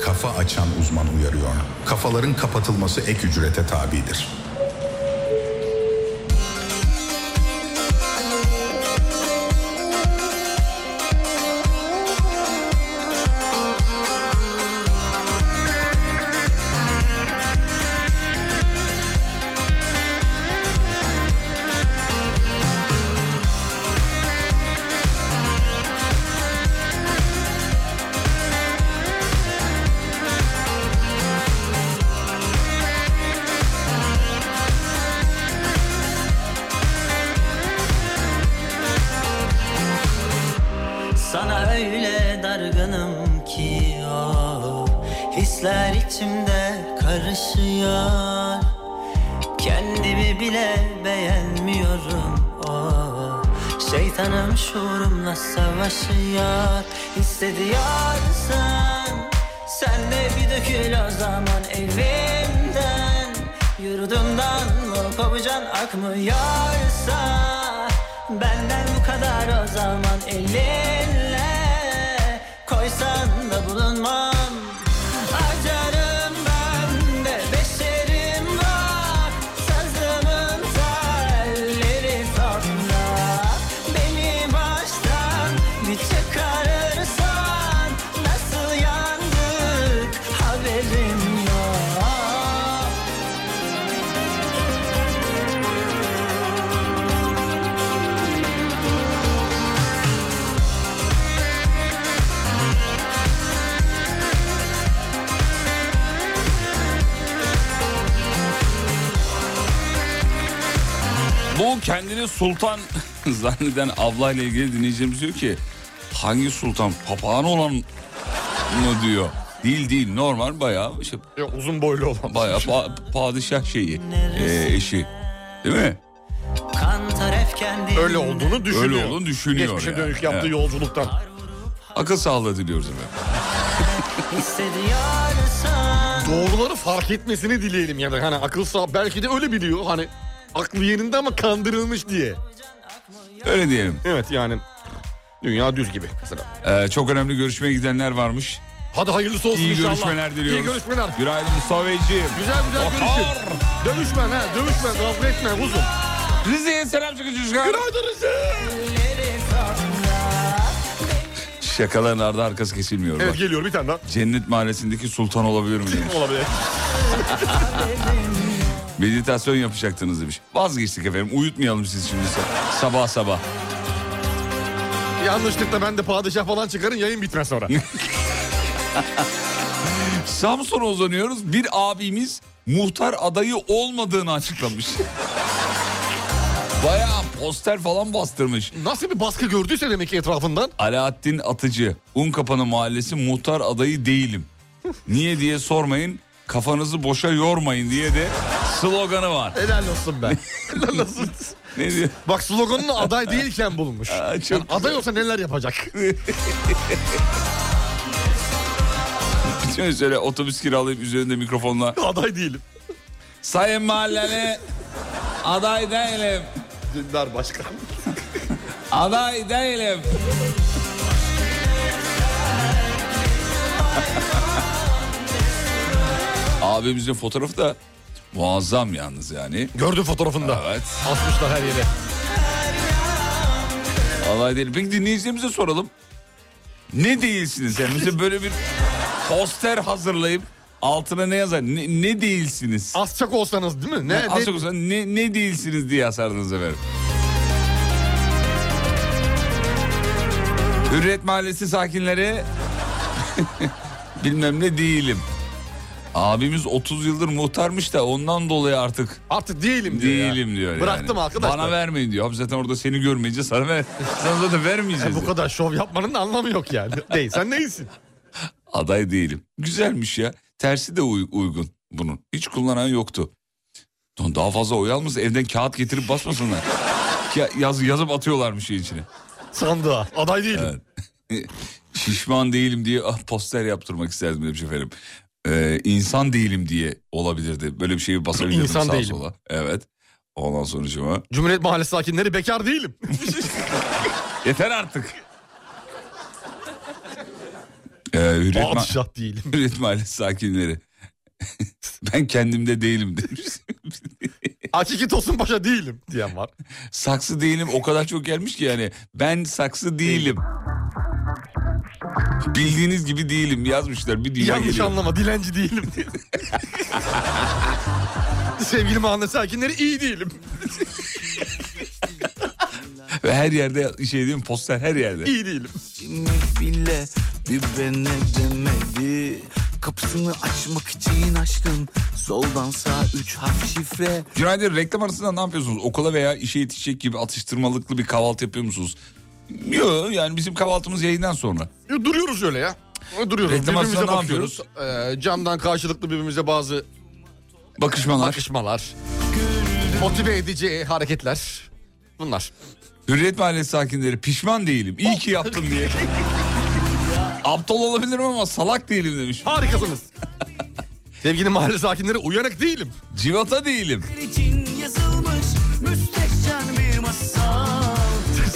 Kafa açan uzman uyarıyor. Kafaların kapatılması ek ücrete tabidir.
Sana öyle dargınım ki oh, Hisler içimde karışıyor Kendimi bile beğenmiyorum oh, Şeytanım şuurumla savaşıyor Hissediyorsan Sen de bir dökül o zaman evimden Yurdumdan mı kovucan akmıyorsa Benden bu kadar o zaman elinle Koysan da bulunmam Acarım ben de beşerim var Sazımın telleri tatlı Beni baştan bir çıkarırsan Nasıl yandık haberim yok
Bu kendini sultan zanneden ablayla ilgili dinleyicimiz diyor ki hangi sultan papağan olan mı diyor. Değil değil normal bayağı işte
Yok uzun boylu olan.
bayağı pa- padişah şeyi e, eşi değil mi?
Kantar efkendi
Öyle olduğunu düşünüyor.
Öyle olduğunu düşünüyor
Geçmişe
yani.
dönük yaptığı
Evet.
yolculuktan.
Akıl sağlığı diliyoruz efendim.
hissediyorsan
Doğruları fark etmesini dileyelim yani. Hani akıl sağ belki de öyle biliyor hani. Aklı yerinde ama kandırılmış diye.
Öyle diyelim.
Evet yani dünya düz gibi mesela.
Ee, çok önemli görüşmeye gidenler varmış.
Hadi hayırlısı olsun
İyi
inşallah.
görüşmeler diliyoruz.
İyi görüşmeler.
Günaydın Mustafa Beyciğim.
Güzel güzel görüşün. Dövüşme ha dövüşme kavga etme uzun.
Rize'ye selam çıkın çocuklar.
Günaydın Rize.
Şakaların ardı arkası kesilmiyor.
Evet
Bak,
geliyor bir tane daha.
Cennet mahallesindeki sultan olabilir miyim?
Olabilir.
Meditasyon yapacaktınız demiş. Vazgeçtik efendim. Uyutmayalım siz şimdi sa- sabah sabah.
Yanlışlıkla ben de padişah falan çıkarın yayın bitmez sonra.
Samsun'a uzanıyoruz. Bir abimiz muhtar adayı olmadığını açıklamış. Bayağı poster falan bastırmış.
Nasıl bir baskı gördüyse demek ki etrafından.
Alaaddin Atıcı, Unkapanı Mahallesi muhtar adayı değilim. Niye diye sormayın, kafanızı boşa yormayın diye de sloganı var.
Helal olsun ben. Helal olsun.
Ne diyor?
Bak sloganını aday değilken bulunmuş.
Aa, çok
Yani aday olsa neler yapacak?
Bütün şöyle otobüs kiralayıp üzerinde mikrofonla
aday değilim.
Sayın Mahalleli aday değilim.
Dündar Başkan.
Aday değilim. Abimizin fotoğrafı da muazzam yalnız yani.
Gördüm fotoğrafında.
Evet.
Asmışlar her yere.
Aday değilim. Peki dinleyicilerimize soralım. Ne değilsiniz? Yani bize böyle bir poster hazırlayıp altına ne yazar? Ne, ne değilsiniz?
Az çok olsanız değil mi? Ne,
Ne,
ne-
az çok olsa ne, ne değilsiniz diye asardınız efendim. Hürriyet Mahallesi sakinleri bilmem ne değilim. Abimiz 30 yıldır muhtarmış da ondan dolayı artık
Artık değilim diyor ya.
değilim diyor.
Bıraktım
yani.
arkadaşlar.
Bana vermeyin diyor. Abi zaten orada seni görmeyince sana, ver, sana zaten vermeyeceğiz.
E, bu
diyor.
kadar şov yapmanın da anlamı yok yani. Değil sen neysin?
Aday değilim. Güzelmiş ya. Tersi de uy- uygun bunun. Hiç kullanan yoktu. Lan Daha fazla oy almasın evden kağıt getirip basmasınlar. Ya- yaz, yazıp atıyorlarmış şeyin içine. E,
Sandığa. Aday değilim.
Şişman değilim diye ah, poster yaptırmak isterdim demiş efendim. Ee, insan değilim diye olabilirdi. Böyle bir şeyi basabilirdim
İnsan
sağa
değilim.
sola. Evet. Ondan sonucuma.
Cumhuriyet Mahallesi sakinleri bekar değilim.
Yeter artık. Ee, Hürriyet, Ma-
Padişah değilim.
Hürriyet Mahallesi sakinleri. ben kendimde değilim demiş.
Hakiki Tosun Paşa değilim diyen var.
saksı değilim o kadar çok gelmiş ki yani. Ben saksı değilim. Bildiğiniz gibi değilim yazmışlar bir dünya
Yanlış
geliyor.
anlama dilenci değilim diye. Sevgili mahalle sakinleri iyi değilim.
Ve her yerde şey diyeyim poster her yerde.
İyi değilim.
Sinek bile birbirine demedi Kapısını açmak için açtım Soldan sağ üç harf şifre
Günaydın reklam arasında ne yapıyorsunuz? Okula veya işe yetişecek gibi atıştırmalıklı bir kahvaltı yapıyor musunuz? Yok yani bizim kahvaltımız yayından sonra.
Ya Duruyoruz öyle ya. Duruyoruz.
Reklam arasında
birbirimize
ne
bakıyoruz. Ee, camdan karşılıklı birbirimize bazı
Bakışmalar.
bakışmalar. Motive edici hareketler. Bunlar. Oh.
Hürriyet Mahallesi sakinleri pişman değilim. İyi ki yaptım diye. Aptal olabilirim ama salak değilim demiş.
Harikasınız. Sevgili mahalle sakinleri uyanık değilim.
Civata değilim.
için yazılmış müstehcen bir masal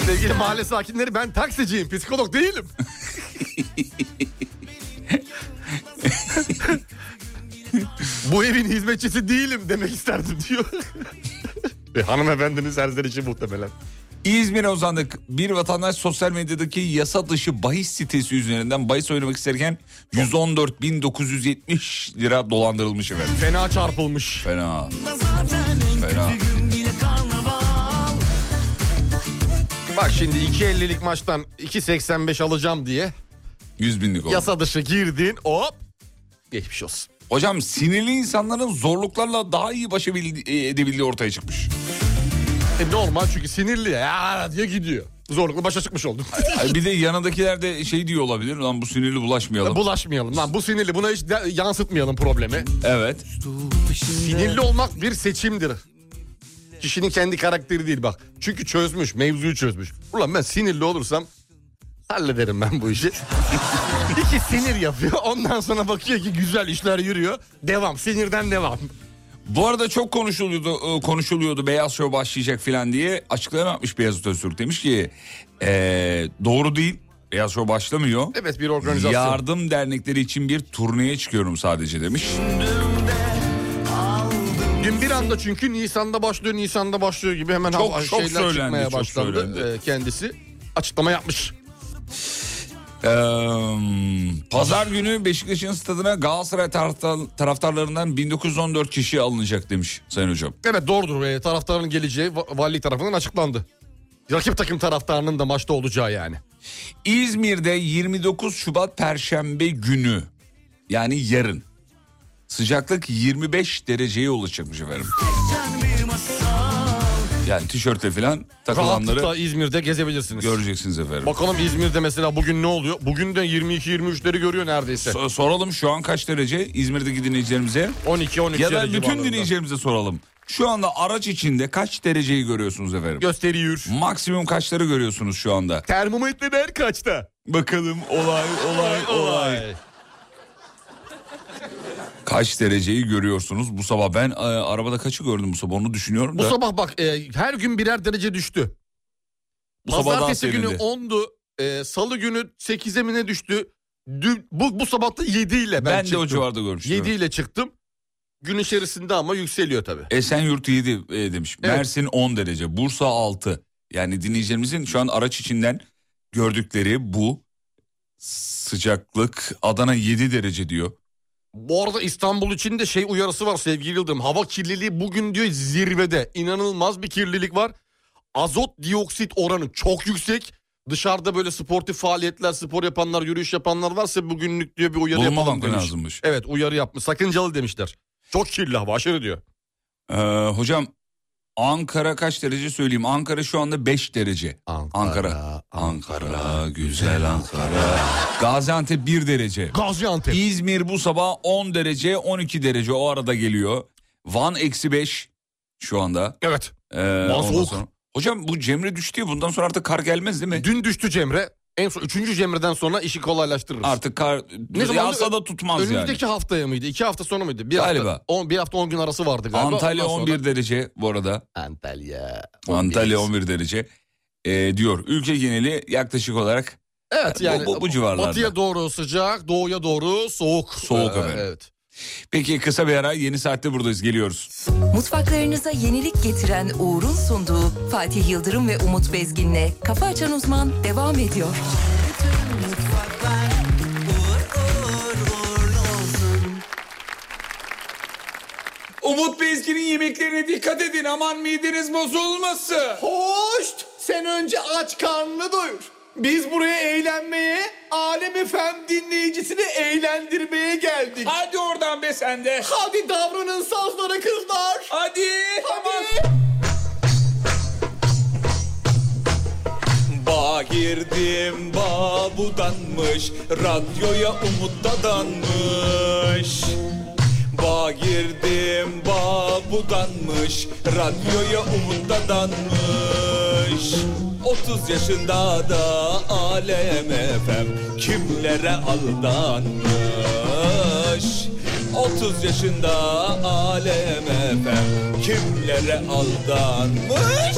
Sevgili mahalle sakinleri ben taksiciyim, psikolog değilim. Bu evin hizmetçisi değilim demek isterdim diyor. Ve E, hanımefendinin serzenişi muhtemelen.
İzmir'e uzandık. Bir vatandaş sosyal medyadaki yasa dışı bahis sitesi üzerinden bahis oynamak isterken 114.970 lira dolandırılmış efendim.
Fena çarpılmış.
Fena.
Zaten en
Fena.
kötü gün yine karnaval
Bak şimdi 2.50'lik maçtan 2.85 alacağım diye
100 binlik oldu.
yasa dışı girdin hop geçmiş olsun.
Hocam sinirli insanların zorluklarla daha iyi baş edebildi- edebildiği ortaya çıkmış.
E normal çünkü sinirli ya diye gidiyor. Zorlukla başa çıkmış oldum.
Ay bir de yanındakiler de şey diyor olabilir. Lan bu sinirli bulaşmayalım.
Bulaşmayalım lan bu sinirli buna hiç de- yansıtmayalım problemi.
Evet.
Sinirli olmak bir seçimdir. Kişinin kendi karakteri değil bak. Çünkü çözmüş, mevzuyu çözmüş. Ulan ben sinirli olursam hallederim ben bu işi. İki sinir yapıyor. Ondan sonra bakıyor ki güzel işler yürüyor. Devam, sinirden devam.
Bu arada çok konuşuluyordu, e, konuşuluyordu Beyaz Show başlayacak filan diye açıklama yapmış Beyazıt Öztürk. Demiş ki e, doğru değil Beyaz Show başlamıyor.
Evet bir organizasyon.
Yardım dernekleri için bir turneye çıkıyorum sadece demiş.
Dün bir anda çünkü Nisan'da başlıyor, Nisan'da başlıyor gibi hemen
Çok-
hava-
çok
şeyler
söylendi,
çıkmaya
çok
başlandı.
söylendi.
Ee, kendisi açıklama yapmış.
Ee, Pazar günü Beşiktaş'ın stadına Galatasaray taraftar- taraftarlarından 1914 kişi alınacak demiş Sayın Hocam.
Evet doğrudur. Ee, taraftarın geleceği va- valilik tarafından açıklandı. Rakip takım taraftarının da maçta olacağı yani.
İzmir'de 29 Şubat Perşembe günü yani yarın sıcaklık 25 dereceye ulaşacakmış efendim. Yani tişörtle falan
Rahatlıkla
takılanları
İzmir'de gezebilirsiniz.
göreceksiniz efendim.
Bakalım İzmir'de mesela bugün ne oluyor? Bugün de 22-23'leri görüyor neredeyse.
So- soralım şu an kaç derece İzmir'deki dinleyicilerimize
12-13
ya da
derece
bütün
civarlarında.
dinleyicilerimize soralım. Şu anda araç içinde kaç dereceyi görüyorsunuz efendim?
gösteriyor.
Maksimum kaçları görüyorsunuz şu anda?
Termometreler kaçta?
Bakalım olay olay olay. Kaç dereceyi görüyorsunuz bu sabah? Ben e, arabada kaçı gördüm bu sabah onu düşünüyorum
Bu
da.
sabah bak e, her gün birer derece düştü.
Bu sabah daha
Pazartesi günü
serindi.
10'du. e, Salı günü 8'e mi ne düştü? Dün- bu, bu sabah da 7 ile ben,
Ben, de
çıktım.
o civarda görmüştüm.
7 ile çıktım. Gün içerisinde ama yükseliyor tabii.
Esenyurt 7 e, demiş.
Evet.
Mersin 10 derece. Bursa 6. Yani dinleyicilerimizin şu an araç içinden gördükleri bu sıcaklık. Adana 7 derece diyor.
Bu arada İstanbul için de şey uyarısı var sevgili Yıldırım. Hava kirliliği bugün diyor zirvede. İnanılmaz bir kirlilik var. Azot dioksit oranı çok yüksek. Dışarıda böyle sportif faaliyetler, spor yapanlar, yürüyüş yapanlar varsa bugünlük diyor bir uyarı
Bulunma
yapalım
bankı
demiş.
lazımmış.
Evet uyarı yapmış. Sakıncalı demişler. Çok kirli hava aşırı diyor.
Ee, hocam Ankara kaç derece söyleyeyim? Ankara şu anda 5 derece. Ankara. Ankara, güzel Ankara. Gaziantep 1 derece.
Gaziantep.
İzmir bu sabah 10 derece 12 derece o arada geliyor. Van eksi 5 şu anda.
Evet.
Ee, ondan
soğuk.
sonra- Hocam bu Cemre düştü ya bundan sonra artık kar gelmez değil mi?
Dün düştü Cemre. En son 3. Cemre'den sonra işi kolaylaştırırız.
Artık kar
Ne zaman-
yağsa da tutmaz
Önümüzdeki haftaya mıydı? 2 hafta sonra mıydı? Bir
Galiba.
Hafta, on, bir hafta 10 gün arası vardı
yani.
galiba.
Antalya
Ondan sonra-
11 derece bu arada.
Antalya.
Antalya 11 derece ee, diyor. Ülke geneli yaklaşık olarak
Evet
Bu-
yani
bu- bu civarlarda.
Batıya doğru sıcak, doğuya doğru soğuk.
Soğuk
Ee,
efendim.
Evet.
Peki kısa bir ara yeni saatte buradayız geliyoruz.
Mutfaklarınıza yenilik getiren Uğur'un sunduğu Fatih Yıldırım ve Umut Bezgin'le Kafa Açan Uzman devam ediyor.
Umut Bezgin'in yemeklerine dikkat edin aman mideniz bozulmasın. Hoş! Sen önce aç karnını doyur. Biz buraya eğlenmeye, Alem Efem dinleyicisini eğlendirmeye geldik. Hadi oradan be sen de. Hadi davranın sazlara kızlar. Hadi. Hadi. Ba girdim ba budanmış Radyoya umut dadanmış Ba girdim ba budanmış Radyoya umut dadanmış
30 yaşında da alem efem kimlere aldanmış 30 yaşında alem efem kimlere aldanmış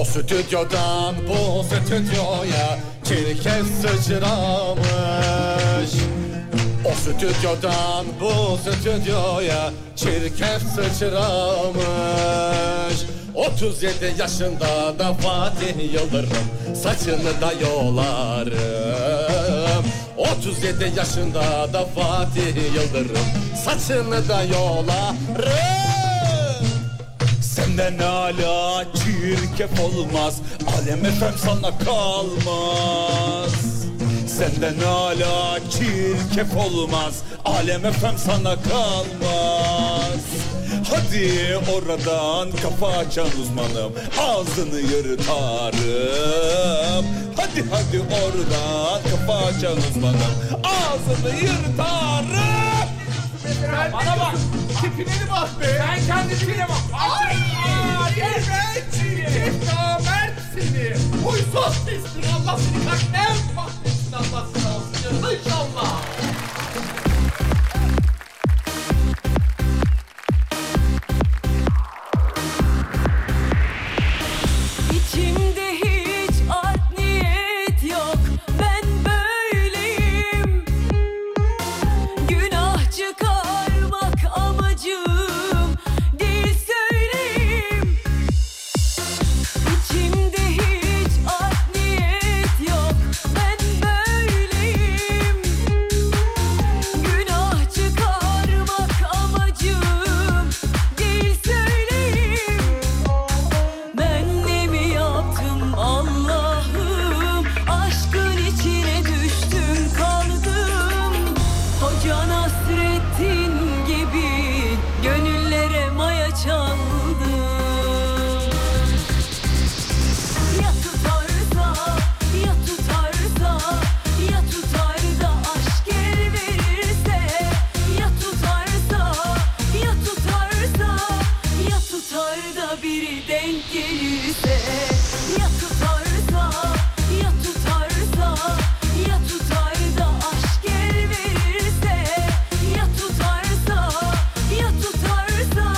O stüdyodan bu stüdyoya çirkef sıçramış O stüdyodan bu stüdyoya çirkef sıçramış 37 yaşında da Fatih Yıldırım saçını da yolarım 37 yaşında da Fatih Yıldırım saçını da yolarım
Senden hala çirkef olmaz Alem efem sana kalmaz Senden hala çirkef olmaz Alem efem sana kalmaz Hadi oradan kafa açan uzmanım Ağzını yırtarım Hadi hadi oradan kafa açan uzmanım Ağzını yırtarım
Bana bak. Tipine bak be. Sen kendi tipine bak. Ay! Evet seni. Namert seni. Huysuz pislik. Allah seni kalpten mahvetsin. Allah seni alsın. İnşallah.
İçimde hiç art niyet yok Ben böyleyim Günah çıkarmak amacım Değil söyleyeyim İçimde hiç art niyet yok Ben böyleyim Günah çıkarmak amacım Değil söyleyeyim ben ne mi yaptım Allah'ım Aşkın içine düştüm kaldım Hoca Nasrettin gibi Gönüllere maya çaldım Ya tutarsa, ya tutarsa Ya tutar da aşk el verirse Ya tutarsa, ya tutarsa ya tutar da biri denk gelirse Ya tutarsa, ya tutarsa Ya tutar da aşk el verirse Ya tutarsa, ya tutarsa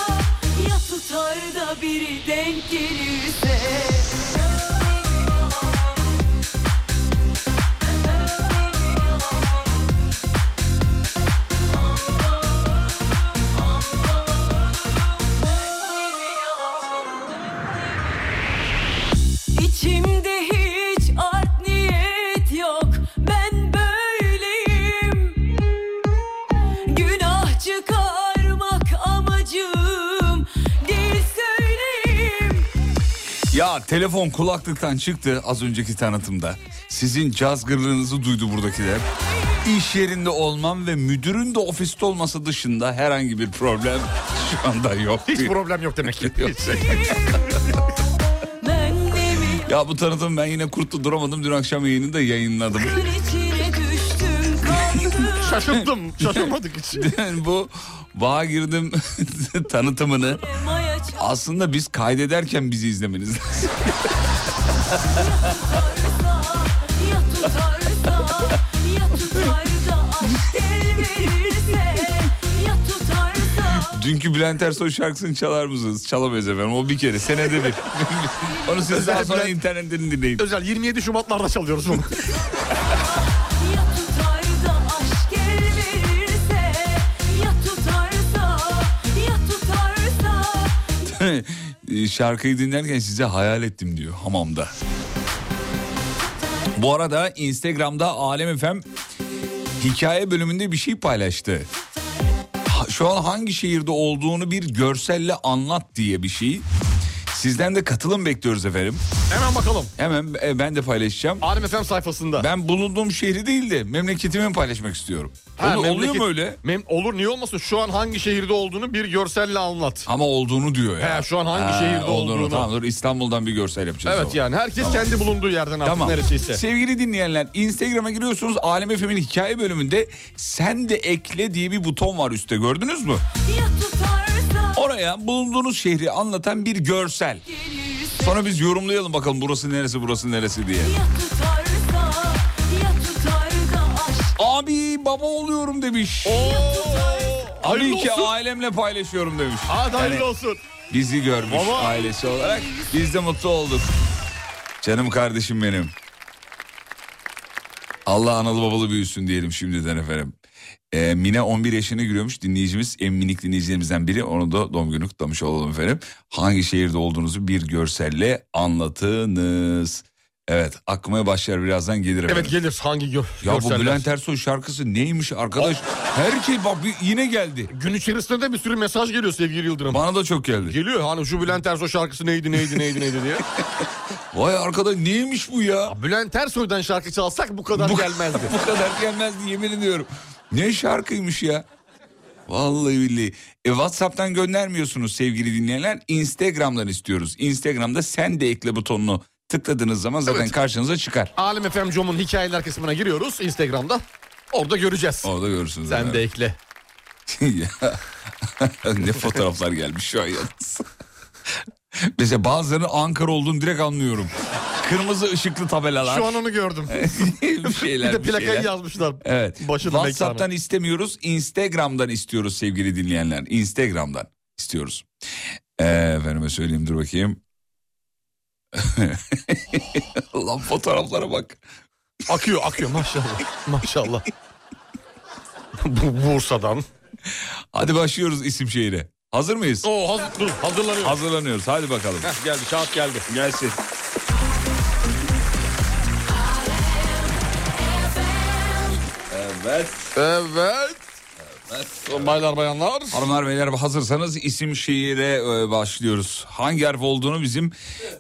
Ya tutar da biri denk gelirse İçimde hiç art niyet yok Ben böyleyim Günah çıkarmak amacım Değil söyleyeyim
Ya telefon kulaklıktan çıktı az önceki tanıtımda. Sizin caz gırrınızı duydu buradakiler. İş yerinde olmam ve müdürün de ofiste olması dışında herhangi bir problem şu anda yok. Hiç
problem yok demek ki.
ya bu tanıtım ben yine kurtlu duramadım. Dün akşam yayınında yayınladım.
İçine düştüm kaldım
Şaşırdım. Şaşırmadık hiç.
Yani bu bağa girdim tanıtımını. Aslında biz kaydederken bizi izlemeniz lazım.
Ya tutarsa, ya tutar da aşk el verirse Ya tutarsa,
Dünkü Bülent Ersoy şarkısını çalar mısınız? Çalamayız efendim. O bir kere. Senede bir. Onu siz daha sonra internetten dinleyin.
Özel 27 Şubatlarda çalıyoruz bunu.
tutar da aşk el verirse Ya tutarsa, ya tutarsa
Ee, Şarkıyı dinlerken size hayal ettim diyor hamamda. Bu arada Instagram'da Alem Efem hikaye bölümünde bir şey paylaştı. Ha- Şu an hangi şehirde olduğunu bir görselle anlat diye bir şey. Sizden de katılım bekliyoruz efendim.
Hemen bakalım.
Hemen e, ben de paylaşacağım.
Alem Efem sayfasında.
Ben bulunduğum şehri değil de memleketimi paylaşmak istiyorum.
Ha,
Olu-
memleket-
Oluyor mu öyle?
Mem- olur niye olmasın? Şu an hangi şehirde olduğunu bir görselle anlat.
Ama olduğunu diyor ya.
He, şu an hangi
Ha,
şehirde olduğunu.
Tamam dur İstanbul'dan bir görsel yapacağız.
Evet
o zaman.
yani herkes
Tamam.
kendi bulunduğu yerden artık neresiyse.
Sevgili dinleyenler Instagram'a giriyorsunuz Alem FM'in hikaye bölümünde sen de ekle diye bir buton var üstte gördünüz mü? Oraya bulunduğunuz şehri anlatan bir görsel. Sonra biz yorumlayalım bakalım burası neresi burası neresi diye. Abi baba oluyorum demiş.
hayırlı
Abi ki
olsun.
ailemle paylaşıyorum demiş.
Hadi hayırlı olsun.
Bizi görmüş
Baba.
ailesi olarak. Biz de mutlu olduk. Canım kardeşim benim. Allah analı babalı büyüsün diyelim şimdiden efendim. Ee, Mine 11 yaşına giriyormuş dinleyicimiz en minik dinleyicilerimizden biri onu da doğum günü kutlamış olalım efendim. Hangi şehirde olduğunuzu bir görselle anlatınız. Evet akmaya başlar birazdan gelir efendim.
Evet gelir hangi gör
Ya
görseller. Oh.
bu Bülent Ersoy şarkısı neymiş arkadaş? Her şey bak bir- yine geldi.
Gün içerisinde de bir sürü mesaj geliyor sevgili Yıldırım.
Bana da çok geldi.
Geliyor hani şu Bülent Ersoy şarkısı neydi neydi neydi neydi diye.
Vay arkadaş neymiş bu ya?
Bülent Ersoy'dan şarkı çalsak bu kadar gelmezdi.
bu kadar gelmezdi yemin ediyorum. Ne şarkıymış ya? Vallahi billahi. E, Whatsapp'tan göndermiyorsunuz sevgili dinleyenler. Instagram'dan istiyoruz. Instagram'da sen de ekle butonunu tıkladığınız zaman zaten karşınıza çıkar.
Alem FM Com'un hikayeler kısmına giriyoruz Instagram'da. Orada göreceğiz.
Orada görürsünüz.
Sen de ekle.
Ya, ne fotoğraflar gelmiş şu an yalnız. Mesela bazılarının Ankara olduğunu direkt anlıyorum. Kırmızı ışıklı tabelalar.
Şu an onu gördüm.
bir şeyler,
bir de
bir
plakayı
şeyler.
yazmışlar.
Evet.
Başına
WhatsApp'tan
mekanı.
istemiyoruz, Instagram'dan istiyoruz sevgili dinleyenler. Instagram'dan istiyoruz. Ee, efendime söyleyeyim dur bakayım. Lan fotoğraflara bak.
Akıyor akıyor maşallah. maşallah. Bu- Bursa'dan.
Hadi başlıyoruz isim şehire. Hazır mıyız?
Oo, hazır, dur, hazırlanıyoruz.
Hazırlanıyoruz. Hadi bakalım.
Heh, geldi kağıt geldi.
Gelsin. Evet.
Evet. Baylar bayanlar.
Hanımlar beyler hazırsanız isim şehire e, başlıyoruz. Hangi harf olduğunu bizim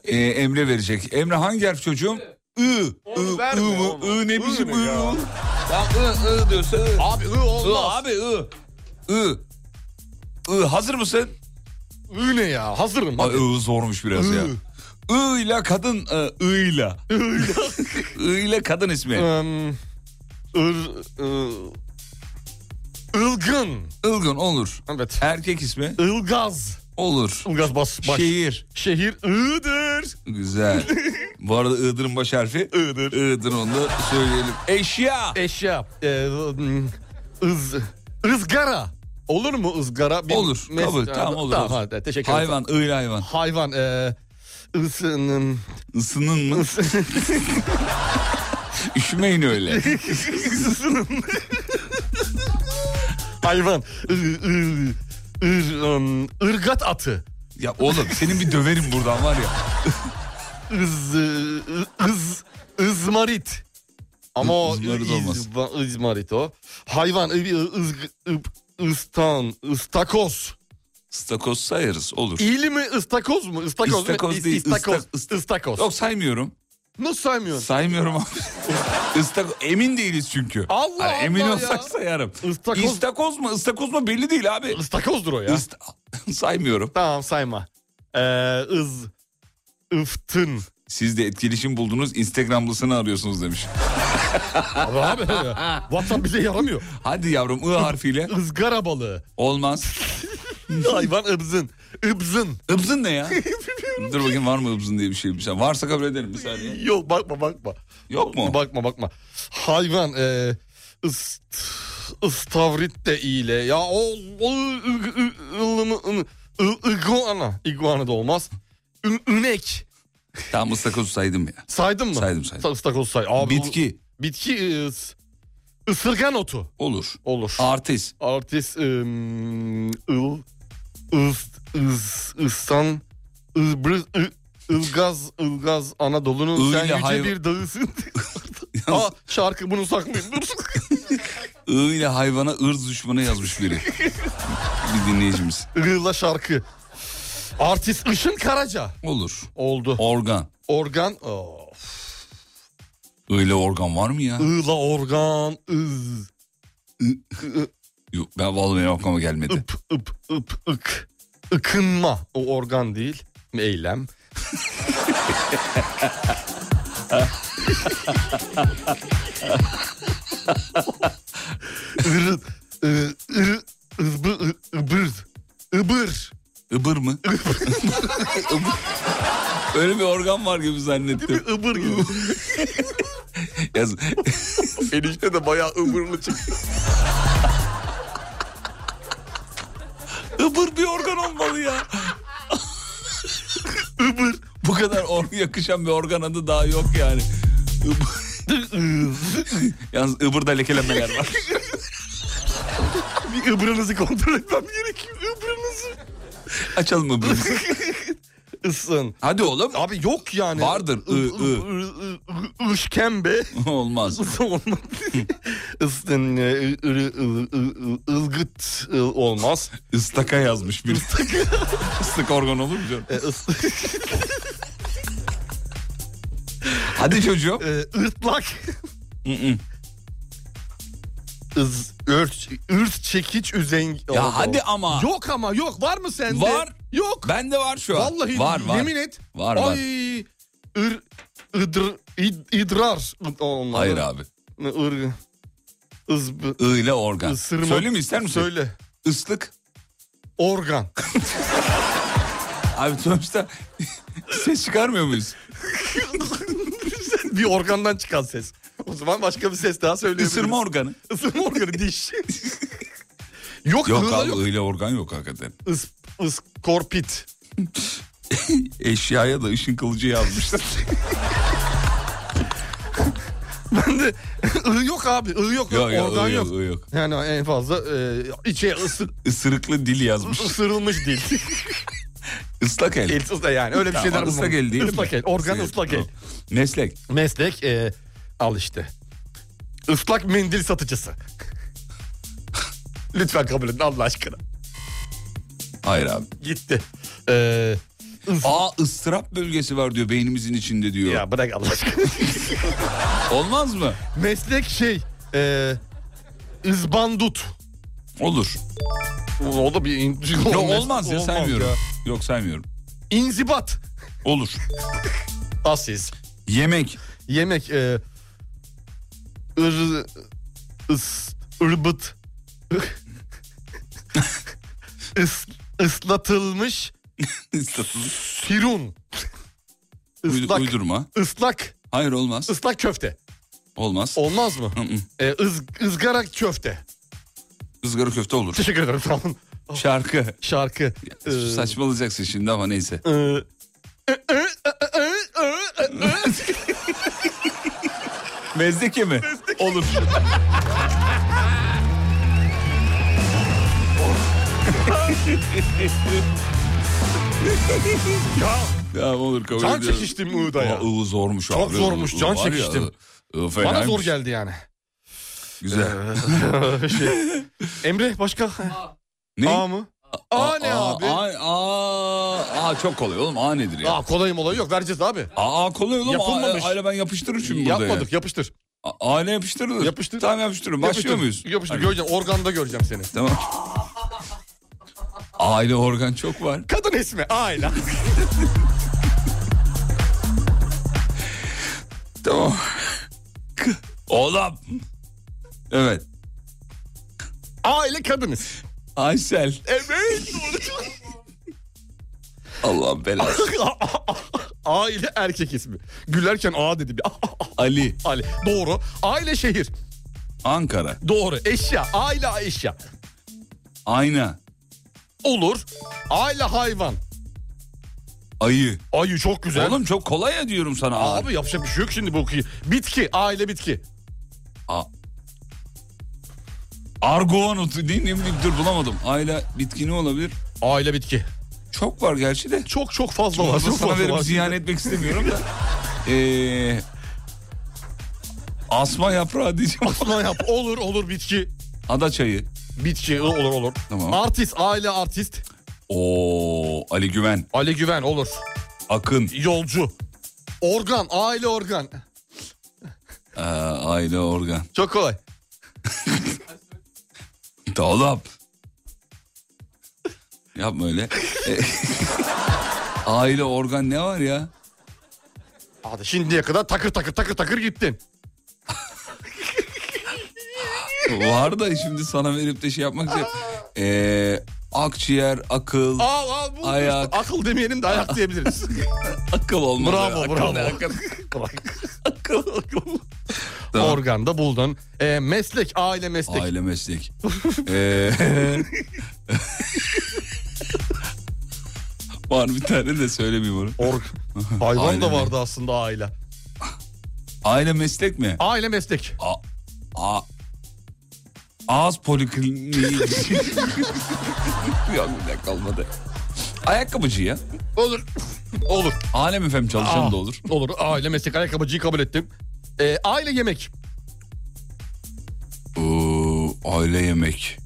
e, Emre verecek. Emre hangi harf çocuğum? I. I, I mı? I ne biçim I? o? Lan I, I diyorsa I.
Abi ı
I
olmaz.
abi I. I. I hazır mısın?
Ü ne ya? Hazırım.
Ay, I zormuş biraz ya. I ile kadın e, I ile. I ile kadın ismi.
Im, ır, ı- ılgın.
Ilgın olur.
Evet.
Erkek ismi
Ilgaz.
olur.
Ilgaz bas, baş.
Şehir.
Şehir Iğdır.
Güzel. Bu arada Iğdır'ın baş harfi
Iğdır.
Iğdır onu da söyleyelim. Eşya.
Eşya. Ee, ız, ızgara. Olur mu ızgara? Bir
Olur,
mes-
kabul, tamam, olur, olur.
hadi, teşekkür ederim.
Hayvan, ığıl hayvan.
Hayvan. E, ısının.
Isının mı? Üşümeyin öyle.
Isının. Hayvan. I, ı- ır- ım, ırgat atı.
Ya oğlum senin bir döverim buradan var ya.
Iz, ı- iz, izmarit. Ama o
İzmarit
iz-
olmaz.
va- izmarit o. Hayvan. ı- ı- ız, ı- ıstan, ıstakoz.
Stakoz sayarız olur.
İyi mi ıstakoz mu? Istakoz, mu?
İstakoz
İs-
değil,
istakoz.
ıstak- ıstak-
istakoz.
Yok saymıyorum.
Nasıl saymıyorsun?
Saymıyorum abi. Istakoz, emin değiliz çünkü.
Allah
Hani emin
Allah
olsak
ya.
sayarım.
Istakoz-
İstakoz mu ıstakoz mu belli değil abi.
Istakozdur o ya.
Ista- saymıyorum.
tamam sayma. Ee, ız, ıftın.
Siz de etkileşim buldunuz Instagramlısını arıyorsunuz demiş.
Abi, abi ya. WhatsApp bize yaramıyor.
Hadi yavrum I harfiyle.
Izgara balığı.
Olmaz.
Hayvan ıbzın. Ibzın.
Ibzın ne ya? Dur bakayım var mı ıbzın diye bir şey. Bir saniye. Varsa kabul ederim bir saniye.
Yok bakma bakma.
Yok mu?
Bakma bakma. Hayvan e, ıst, ıstavrit de iyile. Ya o, o ı- ı- ılımı- ını- ı- iguana. Iguana da olmaz. Ü- Ünek.
Tam ıstakozu saydım ya.
Saydın mı?
Saydım, saydım.
Sa- ıstakoz say. Abi,
Bitki
o- bitki is, ısırgan otu.
olur.
Olur.
Artist.
Artist ım, ıl ıs ıs ıstan ıbrız ı, Ilgaz, Ilgaz Anadolu'nun
Öyle
sen yüce
hayvan-
bir dağısın. Aa şarkı bunu saklayın dur.
I ile hayvana ırz düşmanı yazmış biri. bir dinleyicimiz.
Iğla şarkı. Artist Işın Karaca
Olur.
oldu.
Organ.
Organ. Of.
I ile organ var mı ya?
Iğla organ. Iz.
Yok, ben vallahi benim aklıma gelmedi.
Ip ıp ıp ık. Ikınma. O organ değil. Eylem. Irı, ı- ırı, ızbı, ı- ıbır, ıbır,
Ibır mı? Öyle mi organ var gibi zannettim. Değil
mi? Ibır gibi.
Yaz...
Enişte de bayağı ıbırlı çıktı.
Ibır bir organ olmalı ya. Ibır. Bu kadar or yakışan bir organ adı daha yok yani. Ibır. Yalnız ıbırda lekelenmeler var.
bir ıbrınızı kontrol etmem gerekiyor. Ibrınızı.
Açalım ıbrınızı.
Isın.
Hadi oğlum.
Abi yok yani.
Vardır, ı, ı.
ı. Işkembe.
Olmaz.
Olmaz. Isın. ı, ı, ı, ı, ı, ılgıt ı, olmaz.
Istaka yazmış bir. Islık organ olur mu canım?
E-
Hadi çocuğum.
Irtlak. Iz, ört, ırt çekiç üzen...
Ya
Oldu.
hadi ama.
Yok ama yok var mı sende?
Var.
Yok.
Bende var şu an.
Vallahi
var, var.
yemin et.
Var
Ay,
var.
ır, ıdr, id, idrar. Onlar.
Hayır abi.
Ir, ız,
I ile organ.
Isırma-
Söyleyeyim mi ister misin?
Söyle.
Islık.
Organ.
Abi sonuçta ses çıkarmıyor muyuz?
bir organdan çıkan ses. O zaman başka bir ses daha söyleyebiliriz.
Isırma organı.
Isırma organı diş. yok
yok
ığla
abi
yok.
I ile organ yok hakikaten.
Is, iskorpit.
Eşyaya da ışın kılıcı yazmışlar.
Ben de I yok abi. I
yok
yok.
yok
organ
I
yok.
yok, I yok.
Yani en fazla e, içe ısı,
Isırıklı dil yazmış.
ısırılmış dil.
Islak el.
Elsiz de yani öyle bir
Tamam,
şeyler
ıslak
bulmamış.
el değil mi?
Islak el. Organ ıslak el.
Meslek.
Meslek e, al işte. Islak mendil satıcısı. Lütfen kabul edin Allah aşkına.
Hayır abi.
Gitti. Ee,
Aa ıstırap bölgesi var diyor beynimizin içinde diyor.
Ya bırak Allah aşkına.
Olmaz mı?
Meslek şey e, ızbandut.
Olur.
O da bir... in-
Yok
Olmaz-
olmaz ya
olmaz
saymıyorum.
ya.
Yok saymıyorum.
İnzibat.
Olur.
Asiz.
Yemek.
Yemek. E, ır, ıs, ırbıt. Is, ıslatılmış sirun.
Uydu-
Islak.
Uydurma.
Islak.
Hayır olmaz.
Islak köfte.
Olmaz.
Olmaz mı? E, ız, ızgara köfte.
Izgara köfte olur.
Teşekkür ederim sağ olun.
Şarkı.
Şarkı. Ee,
Saçmalayacaksın şimdi ama neyse.
e,
Mezdeke mi? Olur.
ya
Ya olur kabul
Can
ediyorum.
çekiştim I'da ya.
Aa, I zormuş
Çok
abi.
zormuş,
I
can
var ya,
çekiştim.
I- I
bana
fenaymış.
zor geldi yani.
Güzel.
Şey, Emre başka?
Ne?
A mı? A ne abi?
Aa, aa, aa, çok kolay oğlum. A nedir ya?
Aa kolay mı olay yok vereceğiz abi.
Aa, aa, kolay oğlum.
Yapılmamış.
Yapılmamış. Aile ben yapıştırırım şimdi burada ya.
Yapmadık yapıştır.
A- Aile yapıştırılır.
Yapıştır.
Tamam yapıştırırım. Başlıyor
Yapıştır,
muyuz?
Yapıştır
Hadi.
göreceğim organda göreceğim seni.
Tamam. Aile organ çok var.
Kadın ismi Ayla.
Tamam. K- Oğlum. Evet.
Ayla kadın ismi.
Aysel.
Evet.
Allah'ım belası.
Aile erkek ismi. Gülerken A dedi bir.
Ali.
Ali. Doğru. Aile şehir.
Ankara.
Doğru. Eşya. Aile eşya.
Ayna.
Olur. Aile hayvan.
Ayı.
Ayı çok güzel.
Oğlum çok kolay ya diyorum sana.
Abi, yapacak bir şey yok şimdi bu. Bitki. Aile bitki.
A- Argoan otu. Ne, ne, bileyim, dur bulamadım. Aile bitki ne olabilir?
Aile bitki.
Çok var gerçi de.
Çok çok fazla var. Çok
sana
fazla
verip
var.
ziyan etmek istemiyorum da. Ee, asma yaprağı diyeceğim.
Aslan yap. Olur olur bitki.
Ada çayı.
Bitki olur olur.
Tamam.
Artist. Aile artist.
Oo Ali Güven.
Ali Güven olur.
Akın.
Yolcu. Organ. Aile organ.
Ee, aile organ.
Çok kolay.
Dolap. Yapma öyle. Ee, aile organ ne var ya?
Hadi şimdiye kadar takır takır takır takır gittin.
Var da şimdi sana verip de şey yapmak için. Ee, akciğer, akıl,
Al al bu.
ayak.
Akıl demeyelim de ayak diyebiliriz.
akıl olmalı.
Bravo,
Akıl
bravo.
ne, akıl.
Organda buldun. Ee, meslek, aile meslek.
Aile meslek. Ee, Var bir tane de söylemeyeyim onu.
Hayvan
Aile
da
mi?
vardı aslında aile.
Aile meslek mi?
Aile meslek.
A, a, ağız polikliniği. Yok bir dakika olmadı. Ayakkabıcı ya.
Olur. Olur.
Alem efem çalışan
Aa,
da olur.
Olur. Aile meslek ayakkabıcıyı kabul ettim. Ee, aile yemek.
Oo, Ee, aile yemek.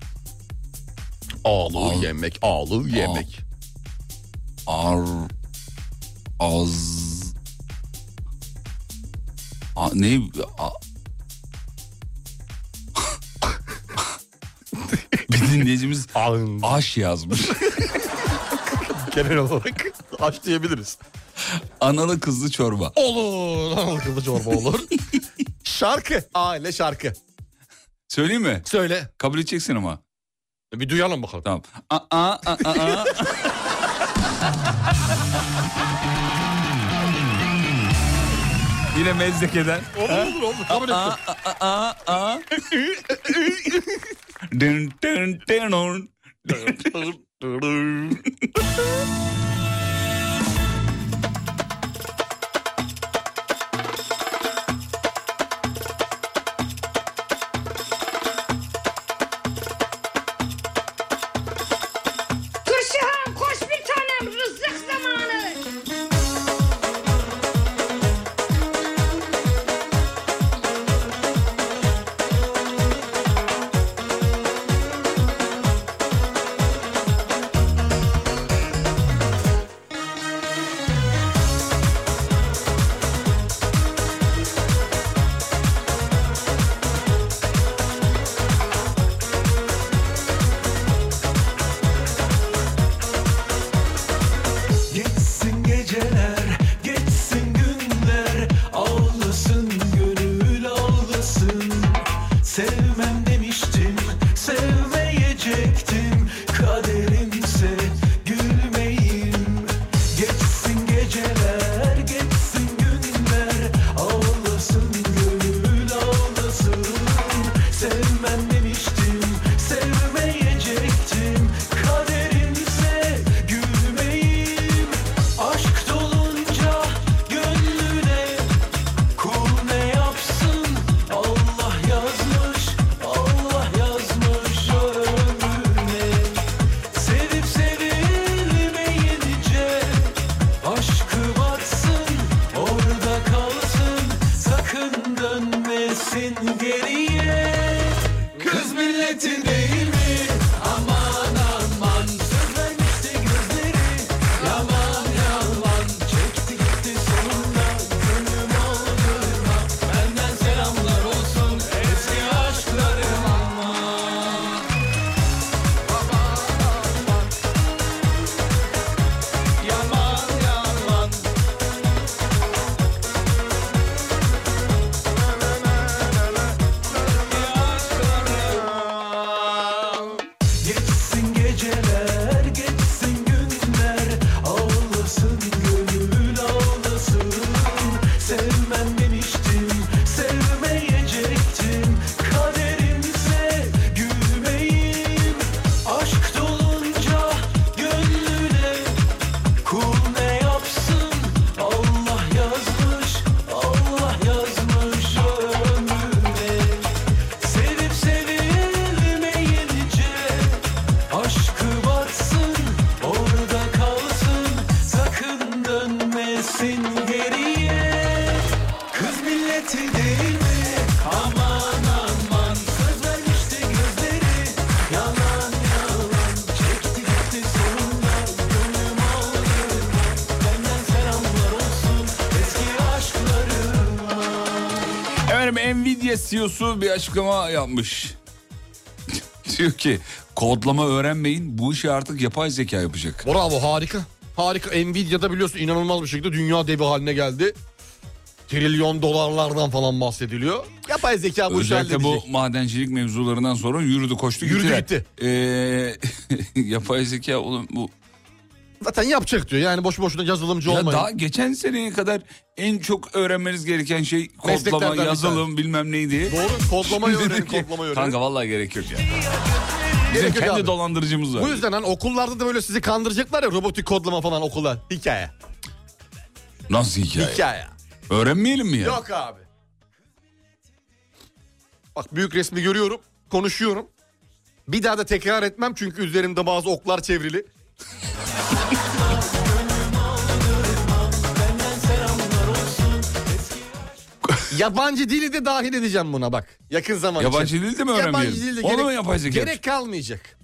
Ağlı yemek, ağlı yemek.
Ar... Az... A, ne? A... Bir dinleyicimiz
Ah.
aş yazmış.
Genel olarak aç diyebiliriz.
Analı kızlı çorba.
Olur. Al Kılıç çorba olur. şarkı. Aile şarkı.
Söyleyeyim mi?
Söyle.
Kabul edeceksin ama.
Bir duyalım bakalım.
Tamam. A, a, a, a, a. Yine mezdekeden.
Olur olur. Kabul ettim.
A, a. Dın, dın, dın, dın.
Kışan koş bir tanem rızık zamanı.
Geçsin geceler, geçsin günler Ağlasın gönül ağlasın Sevmem demiştim, sevmeyecektim Kaderimse gülmeyim Geçsin geceler, geçsin günler Ağlasın gönül ağlasın Sevmem demiştim, sevmeyecektim Kaderimse gülmeyim Aşk dolunca gönlüne Kul ne yapsın Allah yazmış Allah yazmış ömrüne Sevip sevilmeyince Aşkı batsın orada kalsın Sakın dönmesin geriye Kız milletin değil mi? Aman aman Sözlenmişti gözleri Yaman yaman Çekti gitti sonunda Gönlüm aldırma Benden selamlar olsun Eski aşklarım aman Aman aman Yaman yaman Geçsin geceler, geçsin günler Ağlasın gönül ağlasın Sevmem demiştim, sevmeyecektim Kaderimse gülmeyim Aşk dolunca gönlüne Kul ne yapsın Allah yazmış, Allah yazmış ömrüne Sevip sevilmeyince Aşkı batsın, orada kalsın, sakın dönmesin geriye. Kız milleti değil mi? Aman aman, söz vermişti gözleri. Yalan yalan, çekti gitti sonunda. Gönlüm aldırma, benden selamlar olsun eski aşklarıma.
Efendim Nvidia CEO'su bir açıklama yapmış. Diyor ki kodlama öğrenmeyin bu işi artık yapay zeka yapacak.
Bravo harika. Harika. Nvidia'da biliyorsun inanılmaz bir şekilde dünya devi haline geldi. Trilyon dolarlardan falan bahsediliyor. Yapay zeka bu işi
Özellikle bu
halledecek.
madencilik mevzularından sonra yürüdü koştu
Yürüdü
gittiler.
gitti.
Ee, yapay zeka oğlum bu
Zaten yapacak diyor yani boş boşuna yazılımcı
Ya
olmayın.
daha geçen seneye kadar en çok öğrenmeniz gereken şey
Mesleklerden
kodlama,
bir
yazılım bilmem neydi.
Doğru, kodlamayı
Şimdi
öğrenin,
ki,
kodlamayı öğrenin.
Kanka vallahi gerek yok ya. Bizim
Gerek yok
kendi
abi.
dolandırıcımız var.
Bu yüzden hani okullarda da böyle sizi kandıracaklar ya robotik kodlama falan okula. Hikaye.
Nasıl hikaye?
Hikaye.
Öğrenmeyelim mi ya?
Yok abi. Bak büyük resmi görüyorum, konuşuyorum. Bir daha da tekrar etmem çünkü üzerimde bazı oklar çevrili. Yabancı dili de dahil edeceğim buna bak. Yakın zaman
Yabancı
için.
dil de mi
Yabancı
öğrenmeyelim?
dil de
Onu
gerek,
mu yapay zeka
gerek kalmayacak.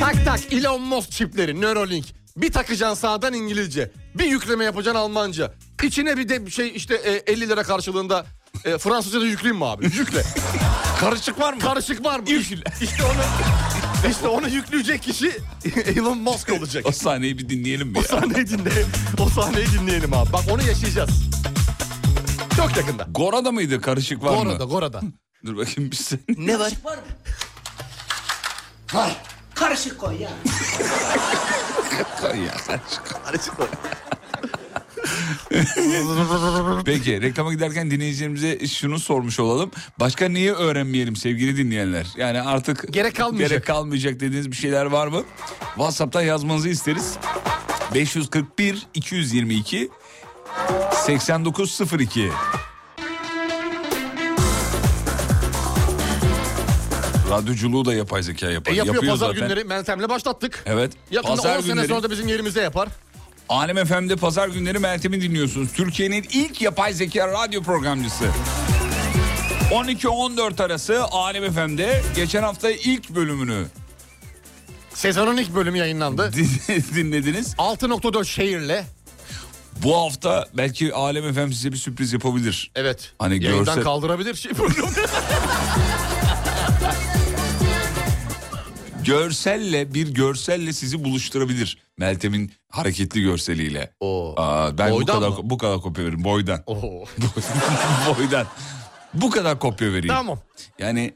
Tak tak Elon Musk çipleri, Neuralink. Bir takacaksın sağdan İngilizce. Bir yükleme yapacaksın Almanca. İçine bir de şey işte e, 50 lira karşılığında e, Fransızca da yükleyeyim mi abi? Yükle. Karışık var mı? Karışık var mı? Yükle. İşte onu, işte onu yükleyecek kişi Elon Musk olacak.
O sahneyi bir dinleyelim mi
O
ya?
sahneyi dinleyelim. O sahneyi dinleyelim abi. Bak onu yaşayacağız. Çok yakında.
Gora'da mıydı karışık var mı?
Gora'da, Gora'da.
Dur bakayım bir sen.
Ne var?
Var mı? Var. Karışık koy ya.
ya karışık. Karışık Peki reklama giderken dinleyicilerimize şunu sormuş olalım. Başka neyi öğrenmeyelim sevgili dinleyenler? Yani artık gerek kalmayacak. Gerek kalmayacak dediğiniz bir şeyler var mı? WhatsApp'tan yazmanızı isteriz. 541 222 8902 Radyoculuğu da yapay zeka yapar.
E, yapıyor,
Yapıyor
pazar
zaten.
günleri Meltem'le başlattık.
Evet.
Yakında
Pazar
10 sene
günleri-
sonra da bizim yerimizde yapar.
Alem FM'de pazar günleri Meltem'i dinliyorsunuz. Türkiye'nin ilk yapay zeka radyo programcısı. 12-14 arası Alem FM'de geçen hafta ilk bölümünü
Sezonun ilk bölümü yayınlandı.
dinlediniz.
6.4 şehirle.
Bu hafta belki Alem FM size bir sürpriz yapabilir.
Evet.
Hani
Yayından
görse...
kaldırabilir şey programı.
görselle bir görselle sizi buluşturabilir. Meltem'in hareketli görseliyle. Aa, ben
Boydan
bu kadar
mı?
bu kadar kopya veririm boydan. boydan. Bu kadar kopya vereyim.
Tamam.
Yani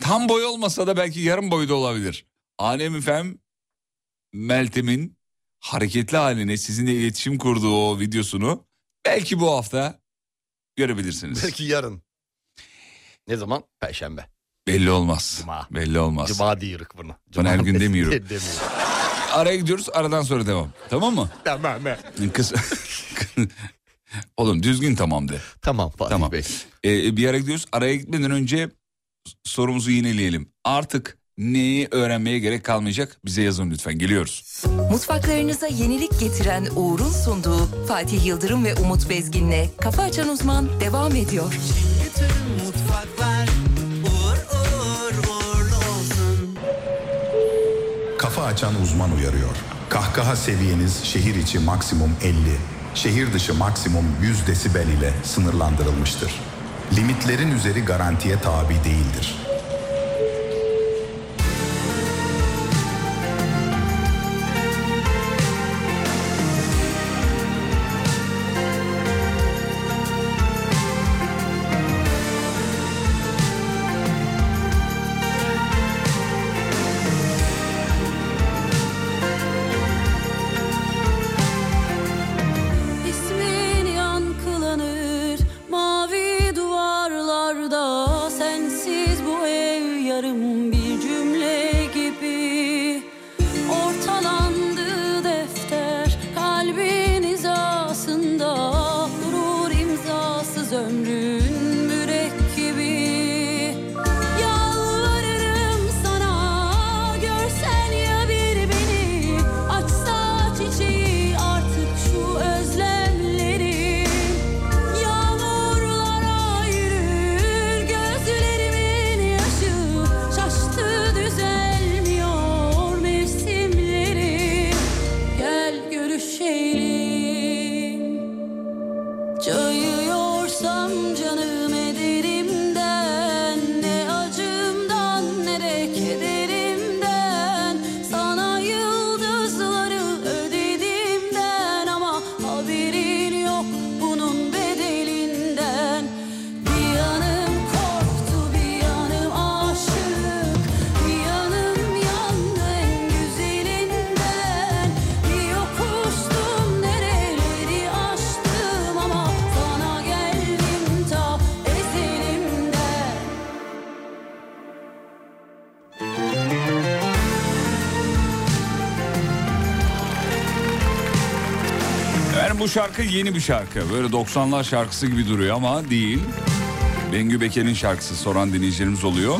tam boy olmasa da belki yarım boyda olabilir. Alem Efem Meltem'in hareketli haline sizinle iletişim kurduğu o videosunu belki bu hafta görebilirsiniz.
Belki yarın. Ne zaman? Perşembe.
Belli olmaz. Belli olmaz.
Cuma diyoruz bunu.
Ben her gün demiyorum.
Demiyorum.
Araya gidiyoruz aradan sonra devam. Tamam mı?
Tamam. be.
Kız... Oğlum düzgün tamam de.
Tamam Fatih
tamam. Ee, bir yere gidiyoruz. Araya gitmeden önce sorumuzu yineleyelim. Artık neyi öğrenmeye gerek kalmayacak bize yazın lütfen. Geliyoruz.
Mutfaklarınıza yenilik getiren Uğur'un sunduğu Fatih Yıldırım ve Umut Bezgin'le Kafa Açan Uzman devam ediyor.
Mutfaklar uğur uğur uğurlu olsun.
Kafa açan uzman uyarıyor. Kahkaha seviyeniz şehir içi maksimum 50, şehir dışı maksimum 100 desibel ile sınırlandırılmıştır. Limitlerin üzeri garantiye tabi değildir.
İsmin yankılanır mavi duvarlarda Sensiz bu
bu şarkı yeni bir şarkı. Böyle 90'lar şarkısı gibi duruyor ama değil. Bengü Beker'in şarkısı soran dinleyicilerimiz oluyor.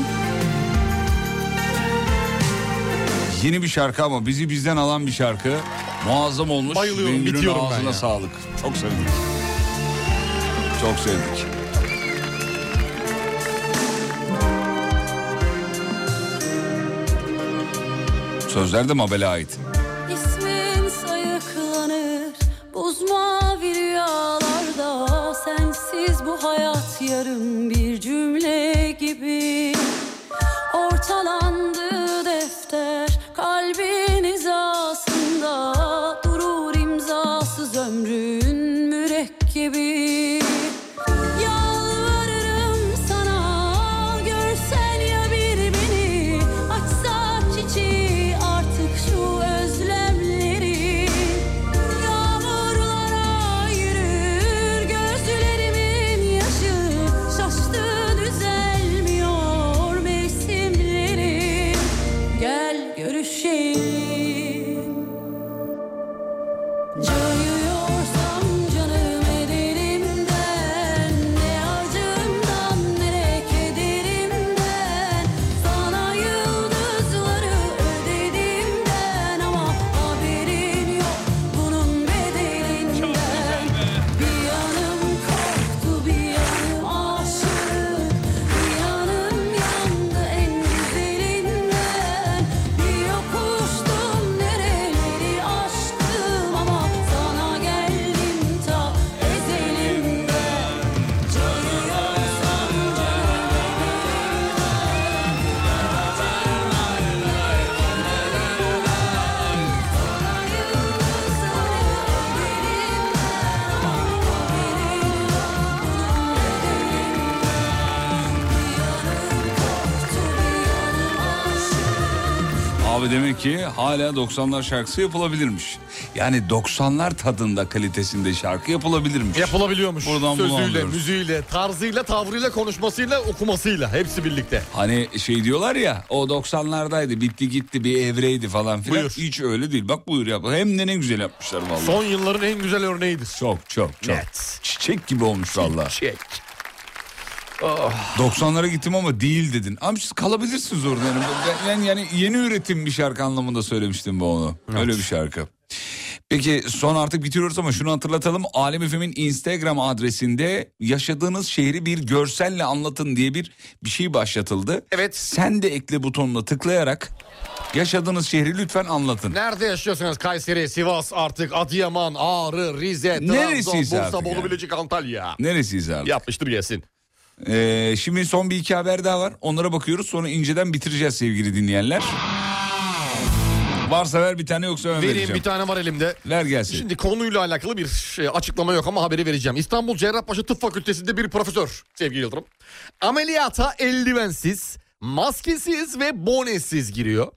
Yeni bir şarkı ama bizi bizden alan bir şarkı. Muazzam olmuş.
Bayılıyorum,
Bengü'nün
bitiyorum ben
ağzına
ya.
sağlık. Çok sevdik. Çok sevdik. Sözler de Mabel'e ait.
İsmin sayıklanır buz mavi rüyalarda Sensiz bu hayat yarım bir cümle gibi Ortalandı defter kalbin hizasında Durur imzasız ömrün mürekkebi Yalvarırım sana görsen ya bir beni Açsa çiçeği artık şu özlemleri Yağmurlara yürür gözlerimin yaşı Şaştı düzelmiyor mevsimleri Gel görüşelim Cayıyorsam canım edelimden Ne acımdan ne kederimden Sana yıldızları ödedimden Ama haberin yok bunun bedelinden Bir yanım korktu bir yanım aşık Bir yanım yandı en güzelinden Bir yokuştum nereleri aştım ama Sana geldim ta ezelimden Canıyorsam
Abi demek ki hala 90'lar şarkısı yapılabilirmiş. Yani 90'lar tadında kalitesinde şarkı yapılabilirmiş.
Yapılabiliyormuş.
Buradan bunu
Sözüyle,
anlıyoruz.
müziğiyle, tarzıyla, tavrıyla, konuşmasıyla, okumasıyla hepsi birlikte.
Hani şey diyorlar ya o 90'lardaydı bitti gitti bir evreydi falan filan. Hiç öyle değil bak buyur yap. Hem de ne güzel yapmışlar vallahi.
Son yılların en güzel örneğidir. Şey,
Çok çok çok. Çiçek gibi olmuş vallahi.
Çiçek.
90'lara gittim ama değil dedin. Abi siz kalabilirsiniz orada. Yani, Ben- ben, yani yeni üretim bir şarkı anlamında söylemiştim bu onu. Öyle bir şarkı. Peki son artık bitiriyoruz ama şunu hatırlatalım. Alem Efem'in Instagram adresinde yaşadığınız şehri bir görselle anlatın diye bir bir şey başlatıldı. Evet. Sen de ekle butonuna tıklayarak yaşadığınız şehri lütfen anlatın.
Nerede yaşıyorsunuz? Kayseri, Sivas, artık Adıyaman, Ağrı, Rize, Trabzon,
Neresiyiz
Bursa,
artık
Bolu,
yani?
Bilecik, Antalya.
Neresiyiz abi?
Yapmıştır gelsin.
Ee, şimdi son bir iki haber daha var. Onlara bakıyoruz. Sonra inceden bitireceğiz sevgili dinleyenler. Varsa ver bir tane yoksa ben
Vereyim
vereceğim.
bir tane var elimde.
Ver gelsin.
Şimdi konuyla alakalı bir şey, açıklama yok ama haberi vereceğim. İstanbul Cerrahpaşa Tıp Fakültesi'nde bir profesör sevgili Yıldırım. Ameliyata eldivensiz, maskesiz ve bonesiz giriyor.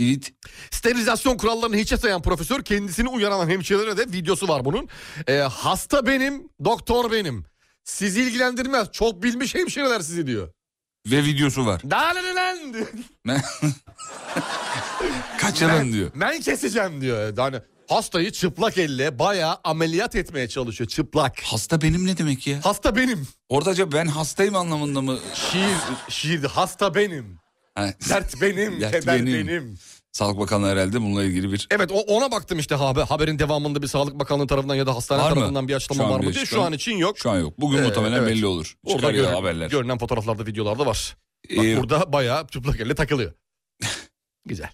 Evet.
Sterilizasyon kurallarını hiçe sayan profesör kendisini uyaran hemşirelere de videosu var bunun. Ee, hasta benim, doktor benim. Sizi ilgilendirmez. Çok bilmiş hemşireler sizi diyor.
Ve videosu var.
Daha ne lan diyor.
Kaçalım
Ben-
diyor.
Ben keseceğim diyor. Yani hastayı çıplak elle bayağı ameliyat etmeye çalışıyor çıplak.
Hasta benim ne demek ya?
Hasta benim.
Orada acaba ben hastayım anlamında mı?
Şiir, şiirdi hasta benim.
Ha.
Dert benim,
Dert
keder
benim.
benim.
Sağlık Bakanı herhalde bununla ilgili bir...
Evet o- ona baktım işte haber, haberin devamında bir Sağlık Bakanlığı tarafından ya da hastane
Var mı?
tarafından bir
Şu
açıklama
an
var
bir
mı diye şu
açıklama-
an için yok.
Şu an yok. Bugün muhtemelen belli olur.
Ee, Orada
Çıkar ya
görün-
haberler.
Görünen fotoğraflarda videolarda var. Bak
Ee,
burada bayağı çıplak elle takılıyor. Güzel.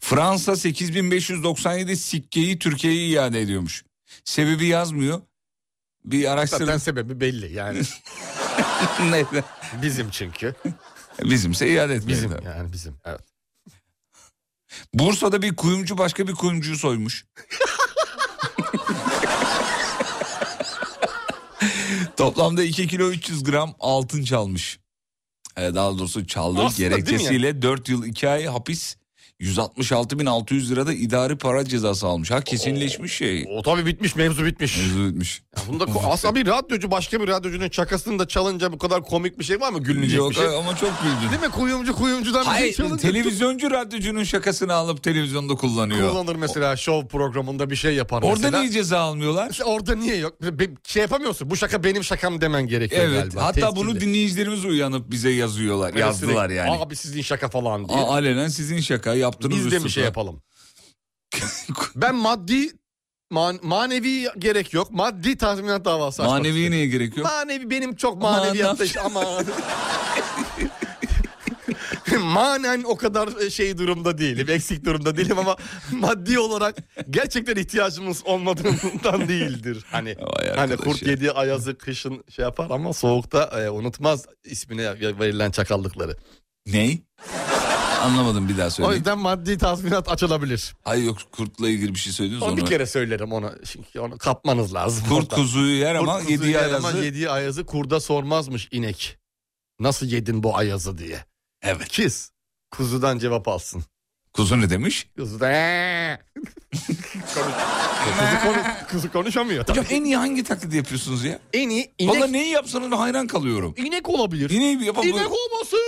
Fransa 8597 sikkeyi Türkiye'ye iade ediyormuş. Sebebi yazmıyor. Bir araştırın.
Zaten sebebi belli yani.
Neyse.
Bizim çünkü.
Bizimse iade etmeyelim.
Bizim
tabii.
yani bizim evet.
Bursa'da bir kuyumcu başka bir kuyumcuyu soymuş. Toplamda 2 kilo 300 gram altın çalmış. Ee, Daha doğrusu çaldığı
Aslında değil mi
gerekçesiyle 4 yıl 2 ay hapis 166.600 lirada idari para cezası almış. Ha kesinleşmiş şey.
O tabii bitmiş mevzu bitmiş.
Mevzu bitmiş.
Bunda ko- aslında bir radyocu başka bir radyocunun şakasını da çalınca bu kadar komik bir şey var mı? Gülünecek
Yok,
bir şey.
ama çok güldün.
Değil mi? Kuyumcu kuyumcudan bir
Hayır
şey çalınca.
televizyoncu radyocunun şakasını alıp televizyonda kullanıyor.
Kullanır mesela şov programında bir şey yapar
Orada
mesela.
niye ceza almıyorlar?
Orada niye yok? Be- Şey yapamıyorsun bu şaka benim şakam demen gerekiyor
Evet.
galiba.
Hatta
Tescilli.
bunu dinleyicilerimiz uyanıp bize yazıyorlar,
Evet,
yazdılar
sürekli,
yani.
Abi sizin şaka falan diye.
A- alenen sizin şaka yaptınız
Biz de mi
üstüne.
şey yapalım? ben maddi man- manevi gerek yok. Maddi tazminat davası açmak
Maneviye neye gerek yok?
Manevi benim çok
Aman,
şey. maneviyatta
ne
işte aman. Manen o kadar şey durumda değilim, eksik durumda değilim ama maddi olarak gerçekten ihtiyacımız olmadığından değildir. Hani hani kurt yediği ayazı kışın şey yapar ama soğukta e, unutmaz ismine verilen çakallıkları.
Ney? Anlamadım bir daha söyle.
O yüzden maddi tazminat açılabilir.
Hayır yok kurtla ilgili bir şey söylediniz
Onu bir
onu.
kere söylerim onu. Çünkü onu kapmanız lazım.
Kurt
Orada.
kuzuyu yer ama
kuzuyu
yediği
yer ama
ayazı-
yediği ayazı kurda sormazmış inek. Nasıl yedin bu ayazı diye.
Evet.
Kiz. Kuzudan cevap alsın.
Kuzu ne demiş?
Kuzu da "Eee." Konuş- kuzu, konuş- kuzu konuşamıyor tabii.
Hocam en iyi hangi taklidi yapıyorsunuz ya?
En iyi
Valla
inek.
neyi yapsanız hayran kalıyorum.
İnek olabilir.
İneği bir yapalım.
İnek olmasın.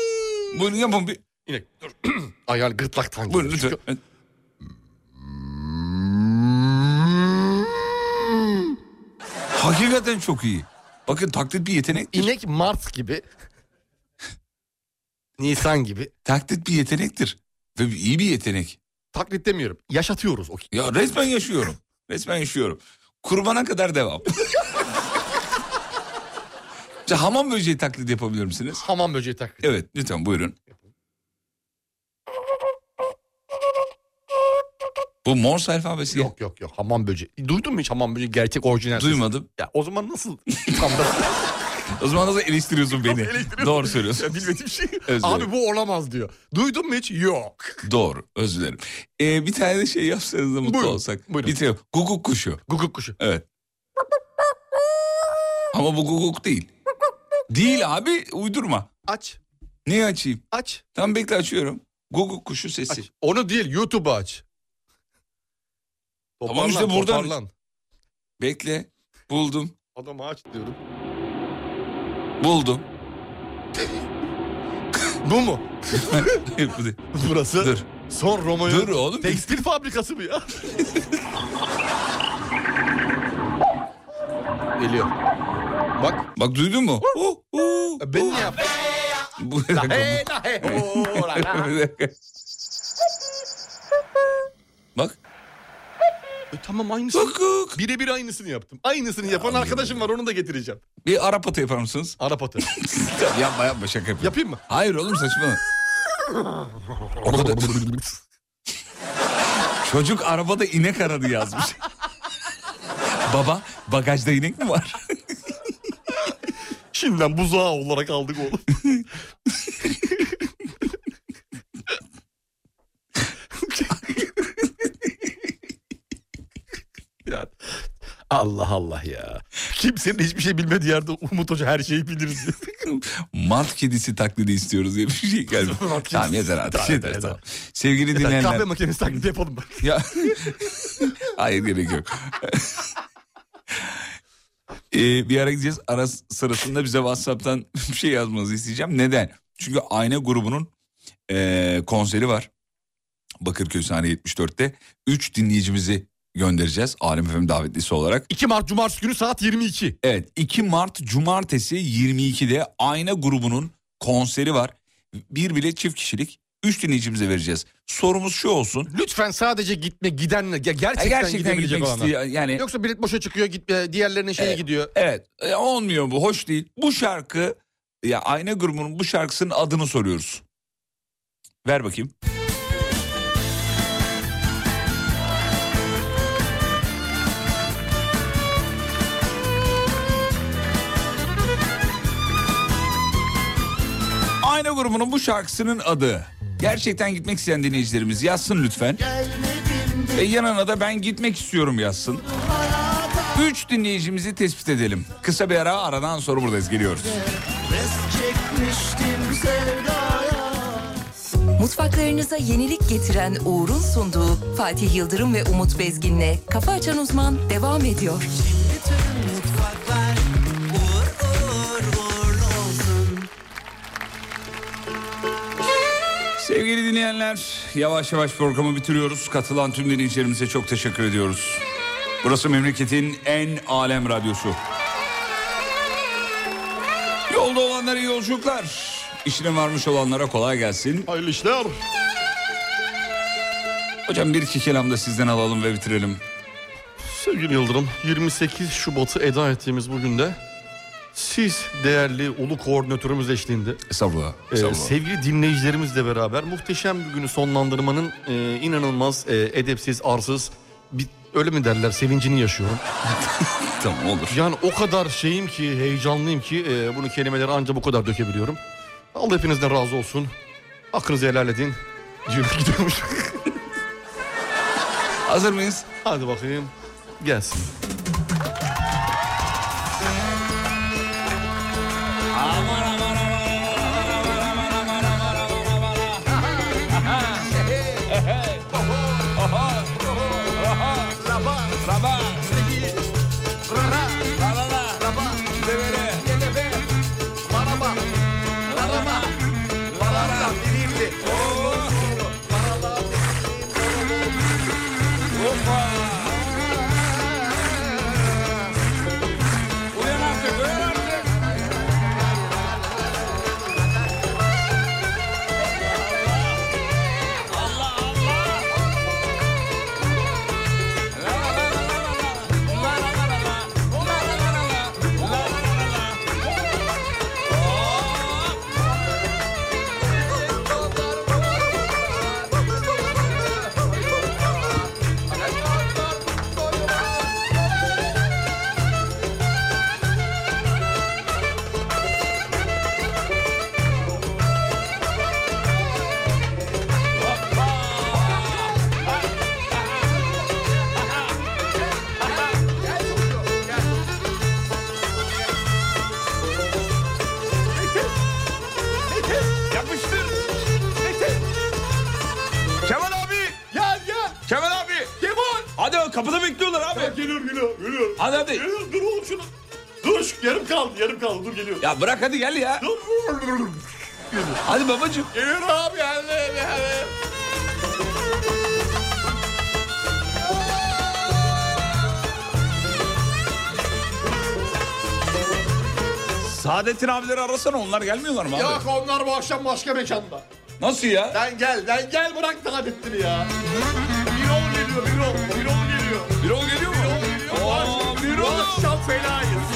Buyurun yapın bir.
İnek dur. Ay yani gırtlaktan
Buyurun lütfen. Hakikaten çok iyi. Bakın taklit bir yetenektir.
İnek Mart gibi. Nisan gibi.
Taklit bir yetenektir. Ve bir- iyi bir yetenek.
Taklit demiyorum. Yaşatıyoruz o
Ya resmen yaşıyorum. resmen yaşıyorum. Kurbana kadar devam. Ya hamam böceği taklidi yapabilir misiniz?
Hamam böceği taklidi.
Evet lütfen buyurun. Bu Morse alfabesi.
Yok yok yok hamam böceği. Duydun mu hiç hamam böceği gerçek orijinal? sesi?
Duymadım.
Ya o zaman nasıl? Tam da
O zaman nasıl eleştiriyorsun beni? Doğru söylüyorsun.
Ya bilmediğim şey.
Özür
Abi
dilerim.
bu olamaz diyor. Duydun mu hiç? Yok.
Doğru özür dilerim. Ee, bir tane de şey yapsanız da mutlu
Buyurun,
olsak.
buyurun.
Bir tane guguk kuşu.
Guguk kuşu.
Evet. Ama bu guguk değil. Değil abi uydurma.
Aç.
Neyi açayım?
Aç.
Tam bekle açıyorum. Guguk kuşu sesi.
Onu değil YouTube'u aç.
Tamam işte buradan.
toparlan.
Bekle. Buldum.
Adam aç diyorum.
Buldum.
bu mu?
Hayır, bu değil.
Burası
Dur.
son Romeo.
Dur oğlum.
Tekstil fabrikası mı ya? Geliyor. Bak.
Bak duydun mu? Oh,
Ben ne yaptım?
Bu
La hey, la hey, ho, la la.
Bir dakika. Bak.
E, tamam aynısı. Birebir aynısını yaptım. Aynısını yapan arkadaşım var onu da getireceğim.
Bir Arap atı yapar mısınız?
Arap atı.
yapma yapma şaka yapıyorum.
Yapayım mı?
Hayır oğlum saçmalama. O kadar- Çocuk arabada inek aradı yazmış. Baba bagajda inek mi var?
Şimdiden buzağı olarak aldık oğlum. Ya, Allah Allah ya. Kimsenin hiçbir şey bilmediği yerde Umut Hoca her şeyi biliriz.
Mart kedisi taklidi istiyoruz diye bir şey geldi.
Mart
tamam
kedisi.
yeter artık.
Tamam,
yeter,
yeter,
tamam. Sevgili
Yeter,
dinleyenler.
Kahve makinesi taklidi yapalım bak.
Ya hayır gerek yok. Ee, bir ara gideceğiz. Ara sırasında bize WhatsApp'tan bir şey yazmanızı isteyeceğim. Neden? Çünkü Ayna grubunun ee, konseri var. Bakırköy sahne 74'te. 3 dinleyicimizi göndereceğiz. Alem FM davetlisi olarak.
2 Mart Cumartesi günü saat 22.
Evet 2 Mart Cumartesi 22'de Ayna grubunun konseri var. Bir bile çift kişilik 3 dinleyicimize vereceğiz. Sorumuz şu olsun.
Lütfen sadece gitme gidenle ge- gerçekten,
Ha, gerçekten
gidebilecek
gitmek
olanlar.
istiyor, yani-
Yoksa bilet boşa çıkıyor gitme diğerlerinin şeyi
Evet,
gidiyor.
Evet E, olmuyor bu hoş değil. Bu şarkı ya Ayna grubunun bu şarkısının adını soruyoruz. Ver bakayım. Ayna grubunun bu şarkısının adı. Gerçekten gitmek isteyen dinleyicilerimiz yazsın lütfen. Ve yanına da ben gitmek istiyorum yazsın. Üç dinleyicimizi tespit edelim. Kısa bir ara aradan sonra buradayız geliyoruz.
Res çekmiştim sevdaya
Mutfaklarınıza yenilik getiren Uğur'un sunduğu Fatih Yıldırım ve Umut Bezgin'le Kafa Açan Uzman devam ediyor.
Mutfaklar uğur uğur uğurlu olsun.
Sevgili dinleyenler yavaş yavaş programı bitiriyoruz. Katılan tüm dinleyicilerimize çok teşekkür ediyoruz. Burası memleketin en alem radyosu. Yolda olanlara iyi yolculuklar. İşine varmış olanlara kolay gelsin.
Hayırlı işler.
Hocam bir iki kelam da sizden alalım ve bitirelim.
Sevgili Yıldırım, 28 Şubat'ı eda ettiğimiz bugün de siz değerli ulu koordinatörümüz eşliğinde
Estağfurullah.
e,
estağfurullah.
sevgili dinleyicilerimizle beraber muhteşem bir günü sonlandırmanın e, inanılmaz e, edepsiz, arsız bir, öyle mi derler sevincini yaşıyorum.
tamam olur.
Yani o kadar şeyim ki heyecanlıyım ki e, bunu kelimeleri ancak bu kadar dökebiliyorum. Allah hepinizden razı olsun. Hakkınızı helal edin. Yürü gidiyormuş.
Hazır mıyız?
Hadi bakayım. Gelsin.
Yapıştır. Metin. Kemal abi. Gel gel. Kemal abi. Kemal. Hadi o kapıda bekliyorlar abi.
geliyor geliyor geliyor.
Hadi hadi.
Geliyor, dur oğlum şunu. Dur şu- yarım kaldı yarım kaldı dur geliyor.
Ya bırak hadi gel ya.
Dur.
Hadi babacığım.
Geliyor abi geldi geldi.
Saadettin abileri arasana onlar gelmiyorlar mı abi?
Yok onlar bu akşam başka mekanda.
Nasıl ya?
Lan gel lan gel bırak Saadettin'i ya. Birol geliyor Birol. Birol geliyor.
Birol geliyor mu?
Birol geliyor. Bu akşam- Bu akşam fenayız.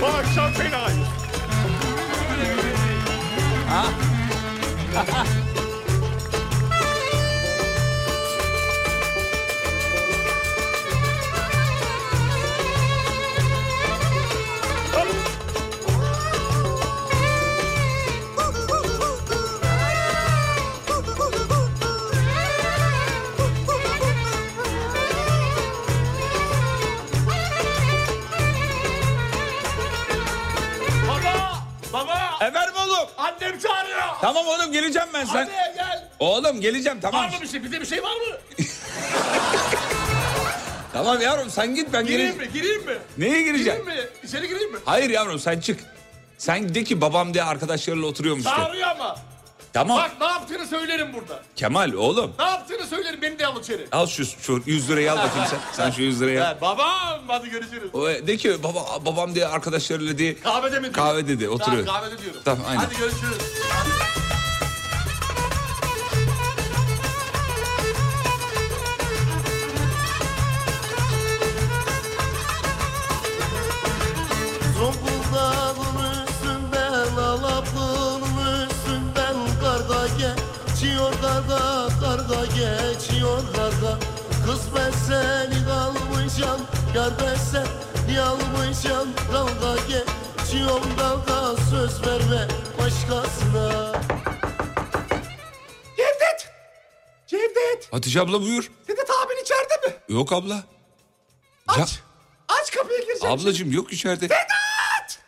Bu akşam fenayız.
Ha?
Baba! Baba!
Efendim E, oğlum.
Annem çağırıyor.
Tamam oğlum geleceğim ben sen.
Hadi gel.
Oğlum geleceğim tamam.
Var mı bir şey? Bize bir şey var mı?
Tamam yavrum sen git ben
Gireyim
geleceğim.
mi? Gireyim mi?
Neye gireceksin?
Gireyim mi? İçeri gireyim mi?
Hayır yavrum sen çık. Sen de ki babam diye arkadaşlarıyla oturuyormuş de.
Çağırıyor ama.
Tamam.
Bak ne yaptığını söylerim burada.
Kemal oğlum.
Ne yaptığını söylerim beni de al içeri.
Al şu, şu 100 lirayı al bakayım sen. Sen şu 100 lirayı al.
Ha, babam hadi görüşürüz.
O, e, De ki baba, babam diye arkadaşlarıyla diye
Kahvede mi?
kahve dedi oturuyor.
Tamam, kahvede diyorum.
Tamam, aynen.
Hadi görüşürüz.
Zonguldak'ın üstünden Alaplı'nın üstünden Karga geçiyor karga Karga geçiyor karga Kız ben seni kalmışam Yar ben seni almışam Dalga geçiyorum dalga Söz verme başkasına
Cevdet! Cevdet!
Hatice abla buyur.
Cevdet abin içeride mi?
Yok abla. Aç.
Aç kapıya gireceğim.
ablacığım yok içeride.
Vedat!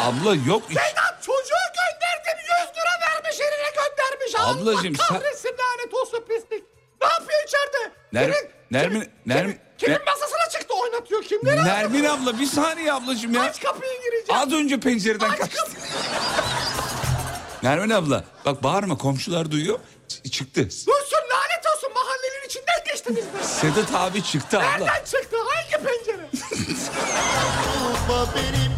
Abla yok iç-
Vedat çocuğu gönderdim 100 lira vermiş eline göndermiş
Ablacığım sen...
Kahretsin lanet olsun pislik. Ne yapıyor içeride?
Ner,
Kimin-
Nermin, Nermin,
Kimin
Ner-
masasına çıktı oynatıyor kimleri?
Nermin abla bir saniye ablacığım ya.
Aç kapıyı gireceğim.
Az önce pencereden kaçtı. Nermin abla bak bağırma komşular duyuyor. Ç- çıktı.
Dursun lanet olsun mahallenin içinden geçtiniz be.
Sedat abi çıktı abla.
Nereden çıktı? Hangi pencere?
Olma benim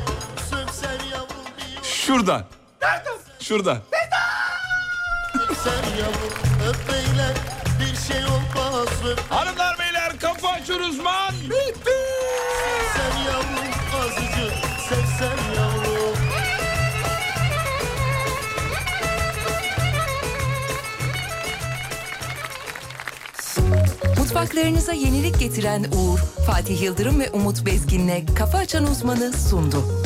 söksen yavrum bir
Şuradan.
Nereden?
Şuradan.
Söksen yavrum öp beyler bir şey olmaz öp
Hanımlar beyler kafa açın uzman.
Söksen yavrum azıcık sevsen yavrum
Mutfaklarınıza yenilik getiren Uğur, Fatih Yıldırım ve Umut Bezgin'le Kafa Açan Uzman'ı sundu.